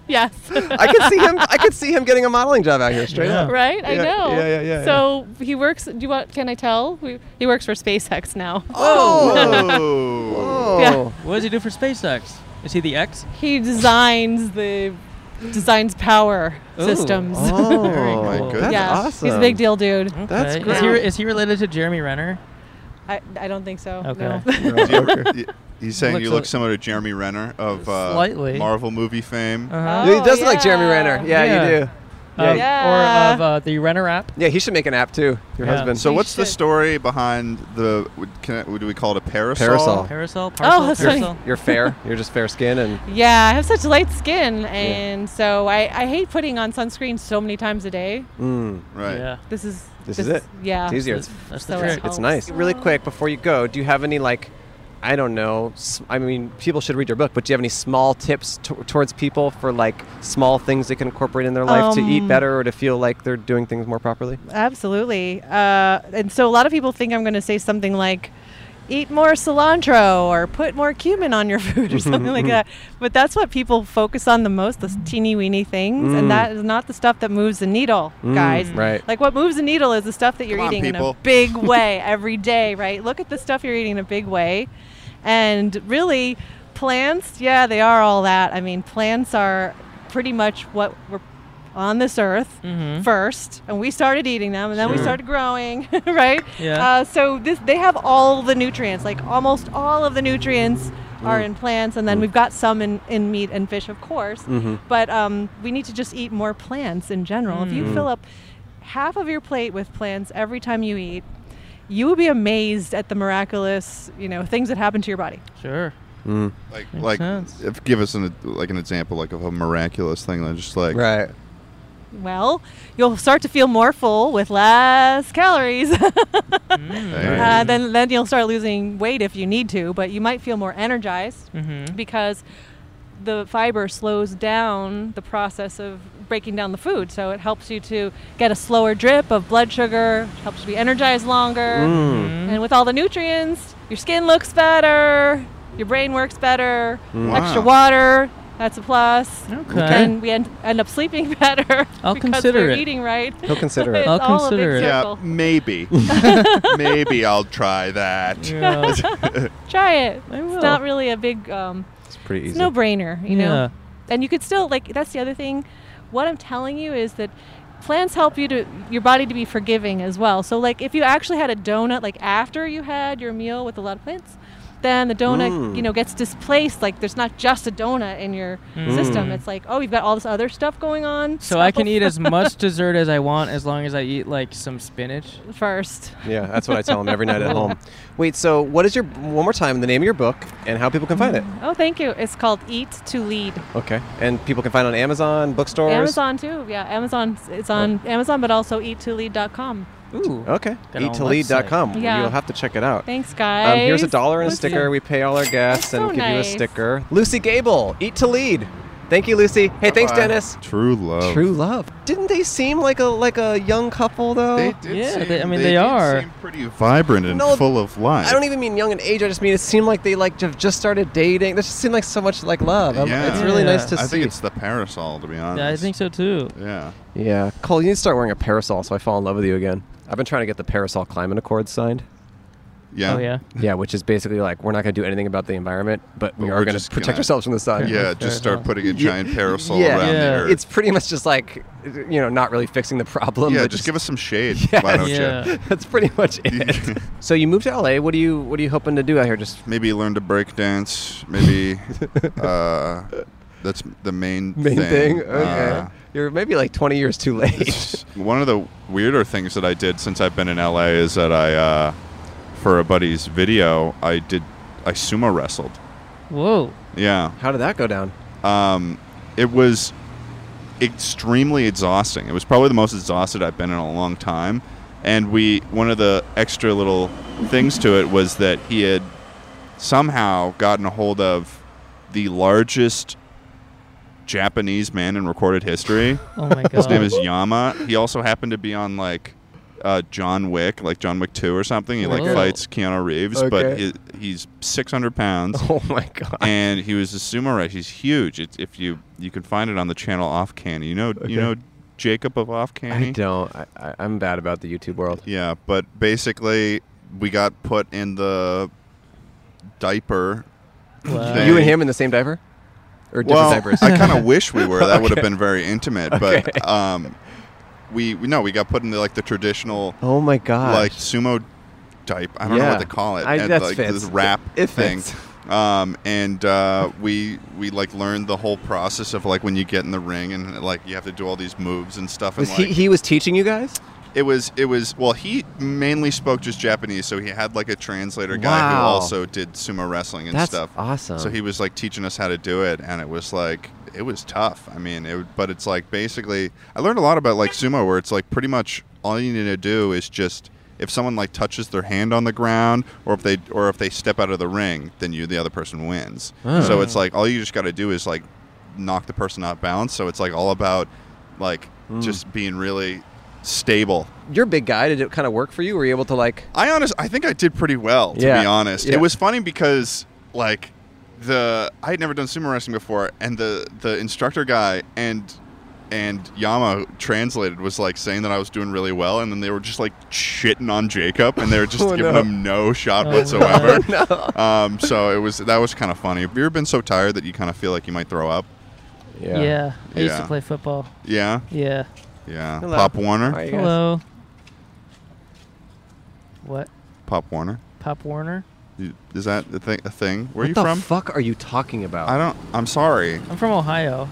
S10: yes.
S2: I could see him. I could see him getting a modeling job out here straight up.
S10: Right? I
S2: Yeah,
S10: know.
S2: Yeah, yeah, yeah.
S10: So he works. Do you want? Can I tell? We, he works for SpaceX now.
S8: Oh.
S10: Yeah.
S4: What does he do for SpaceX? Is he the X?
S10: He designs the designs power
S4: Ooh.
S10: systems.
S4: Oh, Very
S2: my
S4: cool. goodness.
S10: Yeah,
S4: That's
S10: he's a
S4: awesome.
S10: big deal, dude.
S4: Okay. Is he, is he related to Jeremy Renner?
S10: I, I don't think so.
S4: Okay.
S10: No. Oh,
S8: Do you- y- He's saying you
S4: Looks
S8: look
S4: a-
S8: similar to Jeremy Renner of uh,
S4: Slightly.
S8: Marvel movie fame.
S2: Uh,
S4: Uh-huh.
S2: He does look like
S10: Oh,
S2: Jeremy Renner. Yeah, you do.
S4: Uh,
S2: Yeah.
S4: Or of uh, the Renner app.
S2: Yeah, he should make an app too. Your husband.
S8: So what's the story behind the? would- Can I, do we call it a parasol?
S2: Parasol.
S4: Parasol, parcel,
S10: Oh, that's funny.
S4: parcel.
S2: You're fair. You're just fair skin and
S10: Yeah, I have such light skin, and so I, I hate putting on sunscreen so many times a day.
S2: mm.
S8: Right.
S4: Yeah.
S10: This is
S2: This is it.
S10: Yeah,
S2: It's easier.
S4: That's- that's the
S10: So it
S4: trick.
S2: It's
S10: helps.
S2: nice. Really quick before you go, do you have any like, I don't know. s- I mean, people should read your book, but do you have any small tips t- towards people for like small things they can incorporate in their life to eat
S10: Um,
S2: better or to feel like they're doing things more properly?
S10: Absolutely. Uh, and so a lot of people think I'm going to say something like, eat more cilantro or put more cumin on your food or something like that. But that's what people focus on the most, the teeny weeny things.
S2: Mm.
S10: And that is not the stuff that moves the needle,
S2: Mm,
S10: guys.
S2: right.
S10: Like what moves the needle is the stuff that you're
S8: Come on,
S10: eating in a
S8: people.
S10: big way every day, right? Look at the stuff you're eating in a big way. And really, plants, yeah, they are all that. I mean, plants are pretty much what we're on this earth
S4: Mhm.
S10: first, and we started eating them, and then we
S4: Sure.
S10: started growing, right?
S4: Yeah.
S10: Uh, so this they have all the nutrients, like almost all of the nutrients are in plants, and then we've got some in, in meat and fish, of course.
S2: Mhm.
S10: But um, we need to just eat more plants in general. If you fill up half of your plate with plants every time you eat, you will be amazed at the miraculous, you know, things that happen to your body.
S4: Sure.
S8: Like,
S4: Makes
S8: like,
S4: sense.
S8: if give us an like an example like of a miraculous thing that just like
S2: Right.
S10: Well, you'll start to feel more full with less calories.
S8: Hey.
S10: Uh, then then you'll start losing weight if you need to, but you might feel more energized
S4: Mm-hmm.
S10: because the fiber slows down the process of breaking down the food. So it helps you to get a slower drip of blood sugar, helps you be energized longer.
S4: Mm.
S10: And with all the nutrients, your skin looks better, your brain works better, extra
S8: Wow.
S10: water, that's a plus.
S4: Mm. Okay.
S10: And we end, end up sleeping better
S4: I'll
S10: because
S4: consider
S10: we're
S4: it.
S10: eating right.
S2: He'll consider it.
S10: It's
S4: I'll
S10: all a big
S4: consider it.
S8: yeah,
S10: circle.
S8: maybe, maybe I'll try that.
S4: Yeah.
S10: Try it.
S4: I will.
S10: It's not really a big um,
S2: It's pretty
S10: It's
S2: easy.
S10: no brainer, you
S4: Yeah.
S10: know. And you could still like that's the other thing. What I'm telling you is that plants help you to your body to be forgiving as well. So like if you actually had a donut like after you had your meal with a lot of plants, then the donut
S2: Mm.
S10: you know gets displaced. Like there's not just a donut in your system. It's like oh you've got all this other stuff going on.
S4: Mm. so I can eat as much dessert as I want as long as I eat like some spinach.
S10: first.
S2: Yeah, that's what I tell him every night at home. Wait, so what is your one more time the name of your book and how people can find it?
S10: Oh thank you. It's called Eat to Lead.
S2: Okay, and people can find it on Amazon bookstores.
S10: Amazon too. Yeah, Amazon. It's on Amazon, but also eattolead.com.
S4: Ooh.
S2: Okay,
S4: Got our own
S2: eattolead.com.
S10: Yeah.
S2: You'll have to check it out.
S10: Thanks guys.
S2: Um, here's a dollar and a
S10: Let's
S2: sticker.
S10: see.
S2: We pay all our guests
S10: That's
S2: and
S10: so
S2: give you a
S10: nice.
S2: sticker. Lucy Gable, Eat to Lead. Thank you, Lucy. Hey, thanks,
S8: Bye-bye.
S2: Dennis.
S8: True love.
S2: True love. Didn't they seem like a like a young couple though?
S8: They did
S4: Yeah,
S8: seem-
S4: they- I mean,
S8: they
S4: they
S8: did
S4: are.
S8: seem pretty vibrant and
S2: No,
S8: full of life.
S2: I don't even mean young in age. I just mean it seemed like they like have just started dating. That just seemed like so much like love. I'm-
S8: Yeah.
S2: It's really
S4: Yeah.
S2: nice to
S8: I
S2: see.
S8: think it's the parasol, to be honest.
S4: Yeah, I think so Oh, too.
S8: Yeah.
S2: yeah, Cole, you need to start wearing a parasol so I fall in love with you again. I've been trying to get the parasol climate accord signed.
S8: Yeah.
S4: Oh yeah.
S2: Yeah, which is basically like we're not going to do anything about the environment, but we
S8: But
S2: are
S8: we're
S2: going to
S8: just
S2: protect
S8: gonna-
S2: ourselves from the sun.
S8: Yeah,
S4: fair
S8: just start
S4: enough.
S8: putting a giant parasol
S2: Yeah.
S8: around
S4: Yeah.
S8: the earth.
S2: It's pretty much just like, you know, not really fixing the problem.
S8: yeah,
S2: but
S8: just, give us some shade. Why don't
S4: Yeah.
S8: you?
S2: That's pretty much it. so you moved to LA. What are you What are you hoping to do out here? Just
S8: Maybe learn to break dance. Maybe uh, that's the main
S2: main
S8: thing.
S2: thing. Okay.
S8: Uh,
S2: You're maybe like 20 years too late.
S8: it's- one of the weirder things that I did since I've been in LA is that I, uh, for a buddy's video, I did I sumo wrestled.
S4: Whoa.
S8: Yeah.
S2: How did that go down?
S8: Um, it was extremely exhausting. It was probably the most exhausted I've been in a long time. And we, one of the extra little things to it was that he had somehow gotten a hold of the largest Japanese man in recorded history.
S4: Oh my
S8: His name
S4: God.
S8: is Yama. He also happened to be on like uh, John Wick, like John Wick Two or something. He like
S4: Whoa.
S8: fights Keanu Reeves, but
S2: Okay.
S8: he, he's 600 pounds.
S2: Oh my god.
S8: and he was a sumo wrestler. He's huge. It's, if you you can find it on the channel Off Candy. You know you know Jacob of Off Candy.
S2: I don't. I, I, I'm bad about the YouTube world.
S8: Yeah, but basically we got put in the diaper.
S4: Wow.
S8: thing.
S2: you and him in the same diaper, or different
S8: well,
S2: diapers?
S8: I kind of wish we were. That would have
S2: Okay.
S8: been very intimate.
S2: Okay.
S8: But um, we we- no, we got put in the, like the traditional
S2: oh my god.
S8: like sumo diaper. I don't know
S2: Yeah.
S8: what to call it.
S2: I-
S8: and,
S2: that's
S8: like
S2: fits.
S8: this wrap
S2: It- it
S8: thing.
S2: fits.
S8: Um, and uh, we we like learned the whole process of like when you get in the ring and like you have to do all these moves and stuff.
S2: was
S8: and like,
S2: he? He was teaching you guys.
S8: it was it was well he mainly spoke just Japanese, so he had like a translator guy who
S2: Wow.
S8: also did sumo wrestling and
S2: That's
S8: stuff.
S2: awesome.
S8: So he was like teaching us how to do it, and it was like it was tough. I mean, it but it's like basically I learned a lot about like sumo, where it's like pretty much all you need to do is just if someone like touches their hand on the ground, or if they or if they step out of the ring, then you the other person wins. So it's like all you just got to do is like knock the person off balance. So it's like all about like just being really stable
S2: You're a big guy. Did it kind of work for you? Were you able to like?
S8: I honest, I think I did pretty well to
S2: Yeah.
S8: be honest.
S2: Yeah.
S8: It was funny because like the I had never done sumo wrestling before, and the the instructor guy and and Yama who translated was like saying that I was doing really well, and then they were just like shitting on Jacob, and they were just
S2: Oh,
S8: giving
S2: no.
S8: him no shot
S4: Oh,
S8: whatsoever. um, so it was that was kind of funny. Have you ever been so tired that you kind of feel like you might throw up?
S4: Yeah. I used
S8: Yeah.
S4: to play football.
S8: Yeah,
S4: Yeah.
S8: yeah.
S2: Hello.
S8: Pop Warner,
S2: How are you guys?
S4: Hello. What?
S8: Pop Warner.
S4: Pop Warner?
S8: You- Is that a, thi- a thing? Where
S2: what
S8: are you
S2: the
S8: from?
S2: fuck are you talking about?
S8: I don't. I'm sorry.
S4: I'm from Ohio.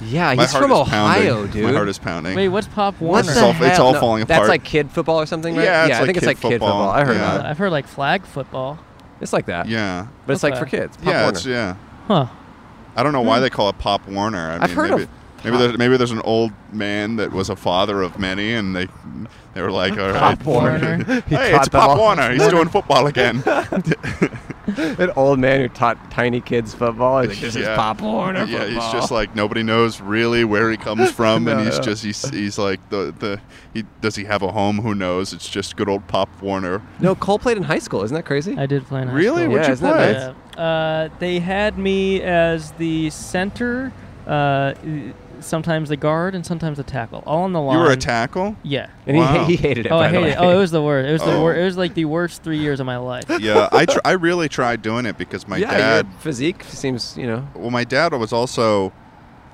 S2: yeah,
S8: My
S2: he's
S8: heart
S2: from
S8: is
S2: Ohio,
S8: pounding.
S2: dude.
S8: My heart is pounding.
S4: Wait, what's Pop
S2: what
S4: Warner?
S2: the
S8: It's all-
S2: hell?
S8: it's all falling
S2: That's
S8: apart.
S2: like kid football or something, right?
S8: Yeah, it's
S2: I
S8: like
S2: think it's
S8: kid
S2: like kid
S8: football.
S2: football. I heard
S8: Yeah.
S2: that.
S4: I've heard like flag football.
S2: It's like that,
S8: yeah.
S2: but it's like
S4: Okay.
S2: for kids. Pop
S8: yeah,
S2: Warner. Hmm.
S8: it's yeah.
S4: Huh.
S8: I don't know why they call it Pop Warner. I
S2: I've
S8: mean,
S2: heard of
S8: maybe, maybe, there's, maybe there's an old man that was a father of many, and they they were like, all right,
S2: Pop
S4: Warner.
S2: He
S8: hey,
S2: taught
S8: it's
S2: them
S8: Pop
S2: all.
S8: Warner. He's doing football again.
S2: An old man who taught tiny kids football. He's like, this is
S8: Yeah.
S2: Pop Warner.
S8: yeah, he's
S2: football."
S8: just like nobody knows really where he comes from,
S2: No,
S8: and he's
S2: no.
S8: just he's, he's like the the he does he have a home? Who knows? It's just good old Pop Warner.
S2: no. Cole played in high school. Isn't that crazy?
S4: I did play in high
S8: Really?
S4: school.
S8: What'd
S2: Yeah,
S8: you
S2: isn't that
S8: play?
S2: nice?
S4: Yeah. Uh, they had me as the center, uh, sometimes the guard, and sometimes the tackle. All on the line.
S8: You were a tackle.
S4: Yeah.
S2: and he,
S8: Wow.
S2: he hated it.
S4: Oh,
S2: by
S4: I
S2: the
S4: hate
S2: way.
S4: it. Oh, it was the worst. It was the
S8: Oh.
S4: worst. It was like the worst three years of my life.
S8: Yeah, I tr- I really tried doing it because my
S2: yeah, your
S8: dad
S2: physique seems, you know.
S8: well my dad was also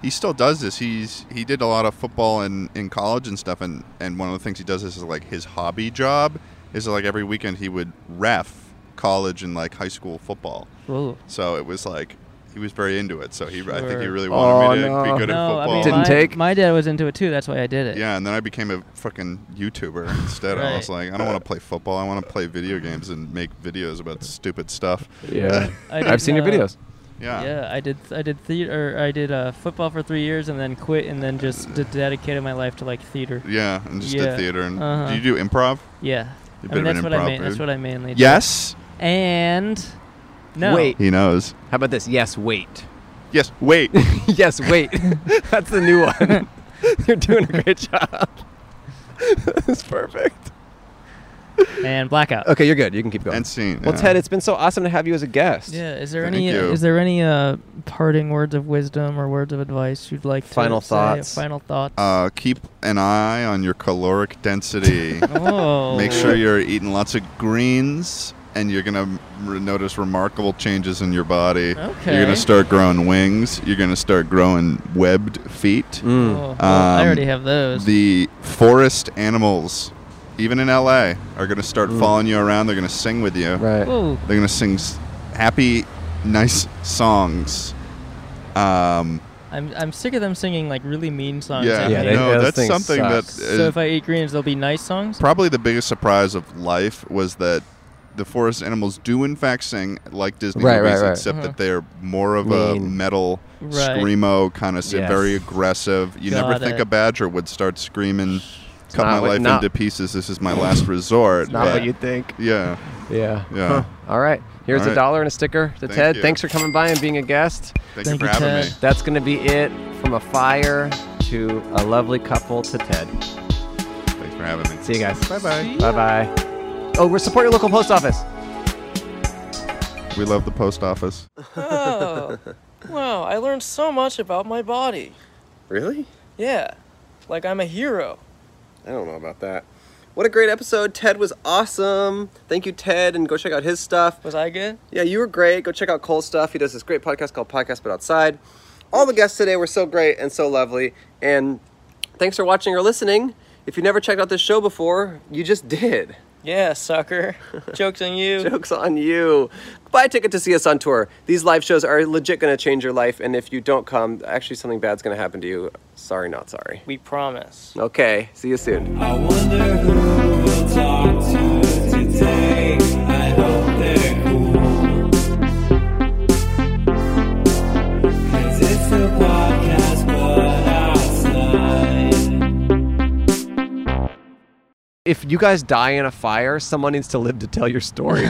S8: he still does this he's he did a lot of football in in college and stuff and and one of the things he does this is like his hobby job is like every weekend he would ref college and like high school football
S4: Whoa.
S8: so it was like he was very into it so he i think he
S4: Sure.
S8: really wanted me to
S2: Oh, no.
S8: be good at
S4: No, I
S8: football
S4: mean,
S2: Didn't
S4: my,
S2: take?
S4: My dad was into it too. That's why I did it.
S8: yeah, and then I became a fucking YouTuber instead. I was like, I don't want to play football. I want to play video games and make videos about stupid stuff.
S2: Yeah,
S4: I
S2: I've seen your
S4: didn't, uh,
S2: videos.
S8: Yeah.
S4: Yeah, I did. I did theater. I did uh, football for three years, and then quit, and then just d- dedicated my life to like theater.
S8: Yeah, and just
S4: Yeah.
S8: did theater. And
S4: Uh-huh.
S8: do you do improv?
S4: Yeah,
S8: You're a bit
S4: I
S8: of
S4: mean
S8: an
S4: that's what I
S8: improv
S4: mean. That's
S8: dude.
S4: what I mainly. do.
S8: Yes.
S4: And no.
S2: Wait.
S8: He knows.
S2: How about this? Yes, wait.
S8: Yes. Wait.
S2: yes, wait. That's the new one. You're doing a great job. That's perfect.
S4: And blackout.
S2: Okay, you're good. You can keep going.
S8: and scene.
S2: well,
S8: yeah.
S2: Ted, it's been so awesome to have you as a guest.
S4: Yeah. Is there
S8: Thank
S4: any?
S8: you.
S4: Is there any uh, parting words of wisdom or words of advice you'd like? to
S2: Final
S4: say?
S2: thoughts.
S4: Final thoughts.
S8: Uh, keep an eye on your caloric density.
S4: oh.
S8: Make sure you're eating lots of greens, and you're gonna r notice remarkable changes in your body. You're
S4: Okay.
S8: gonna start growing wings. You're gonna start growing webbed feet.
S4: Oh,
S2: Mm.
S4: well, I
S8: Um,
S4: already have those.
S8: The forest animals, even in LA, are gonna start
S2: Mm.
S8: following you around. They're gonna sing with you.
S2: Right.
S4: Whoa.
S8: They're gonna sing s- happy, nice songs. Um,
S4: I'm I'm sick of them singing like really mean songs.
S8: yeah,
S4: at
S2: Yeah,
S4: me.
S2: they-
S8: no,
S2: those
S8: that's
S2: things
S8: something
S2: suck.
S8: that
S4: So
S8: is-
S4: if I eat greens, they'll be nice songs.
S8: probably the biggest surprise of life was that the forest animals do in fact sing like Disney
S12: Right,
S8: movies,
S12: right, right.
S8: except
S12: Uh-huh.
S8: that they're more of a
S12: Mean.
S8: metal
S12: Right.
S8: screamo kind of
S12: Yes.
S8: very aggressive. You never
S12: Got
S8: think
S12: it.
S8: a badger would start screaming, "Cut
S12: not
S8: my
S12: what-
S8: life
S12: not-
S8: into pieces! This is my last resort."
S12: It's not what
S8: but-
S12: you'd think.
S8: Yeah.
S12: Yeah.
S8: Yeah.
S12: Huh. All right. Here's
S8: All
S12: a
S8: right.
S12: dollar and a sticker to
S8: Thank
S12: Ted.
S8: you.
S12: Thanks for coming by and being a guest.
S8: Thank you Thank for you, having Ted. me.
S12: That's going to be it from a fire to a lovely couple to Ted.
S8: Thanks for having me.
S12: See you guys.
S8: Bye-bye. See
S12: Bye bye. Oh, we're support your local post office.
S8: We love the post office.
S11: Oh. wow, I learned so much about my body.
S2: Really?
S11: Yeah. Like I'm a hero.
S2: I don't know about that. What a great episode. Ted was awesome. Thank you, Ted, and go check out his stuff.
S11: Was I good?
S2: Yeah, you were great. Go check out Cole's stuff. He does this great podcast called Podcast But Outside. All the guests today were so great and so lovely. And thanks for watching or listening. If you never checked out this show before, you just did.
S11: Yeah, sucker. Joke's on you.
S2: Joke's on you. Buy a ticket to see us on tour. These live shows are legit going to change your life. And if you don't come, actually, something bad's going to happen to you. Sorry, not sorry.
S11: We promise.
S2: Okay, see you soon.
S3: I wonder who we'll talk to today. I hope they're cool. Cause it's a podcast, but outside.
S12: If you guys die in a fire, someone needs to live to tell your story.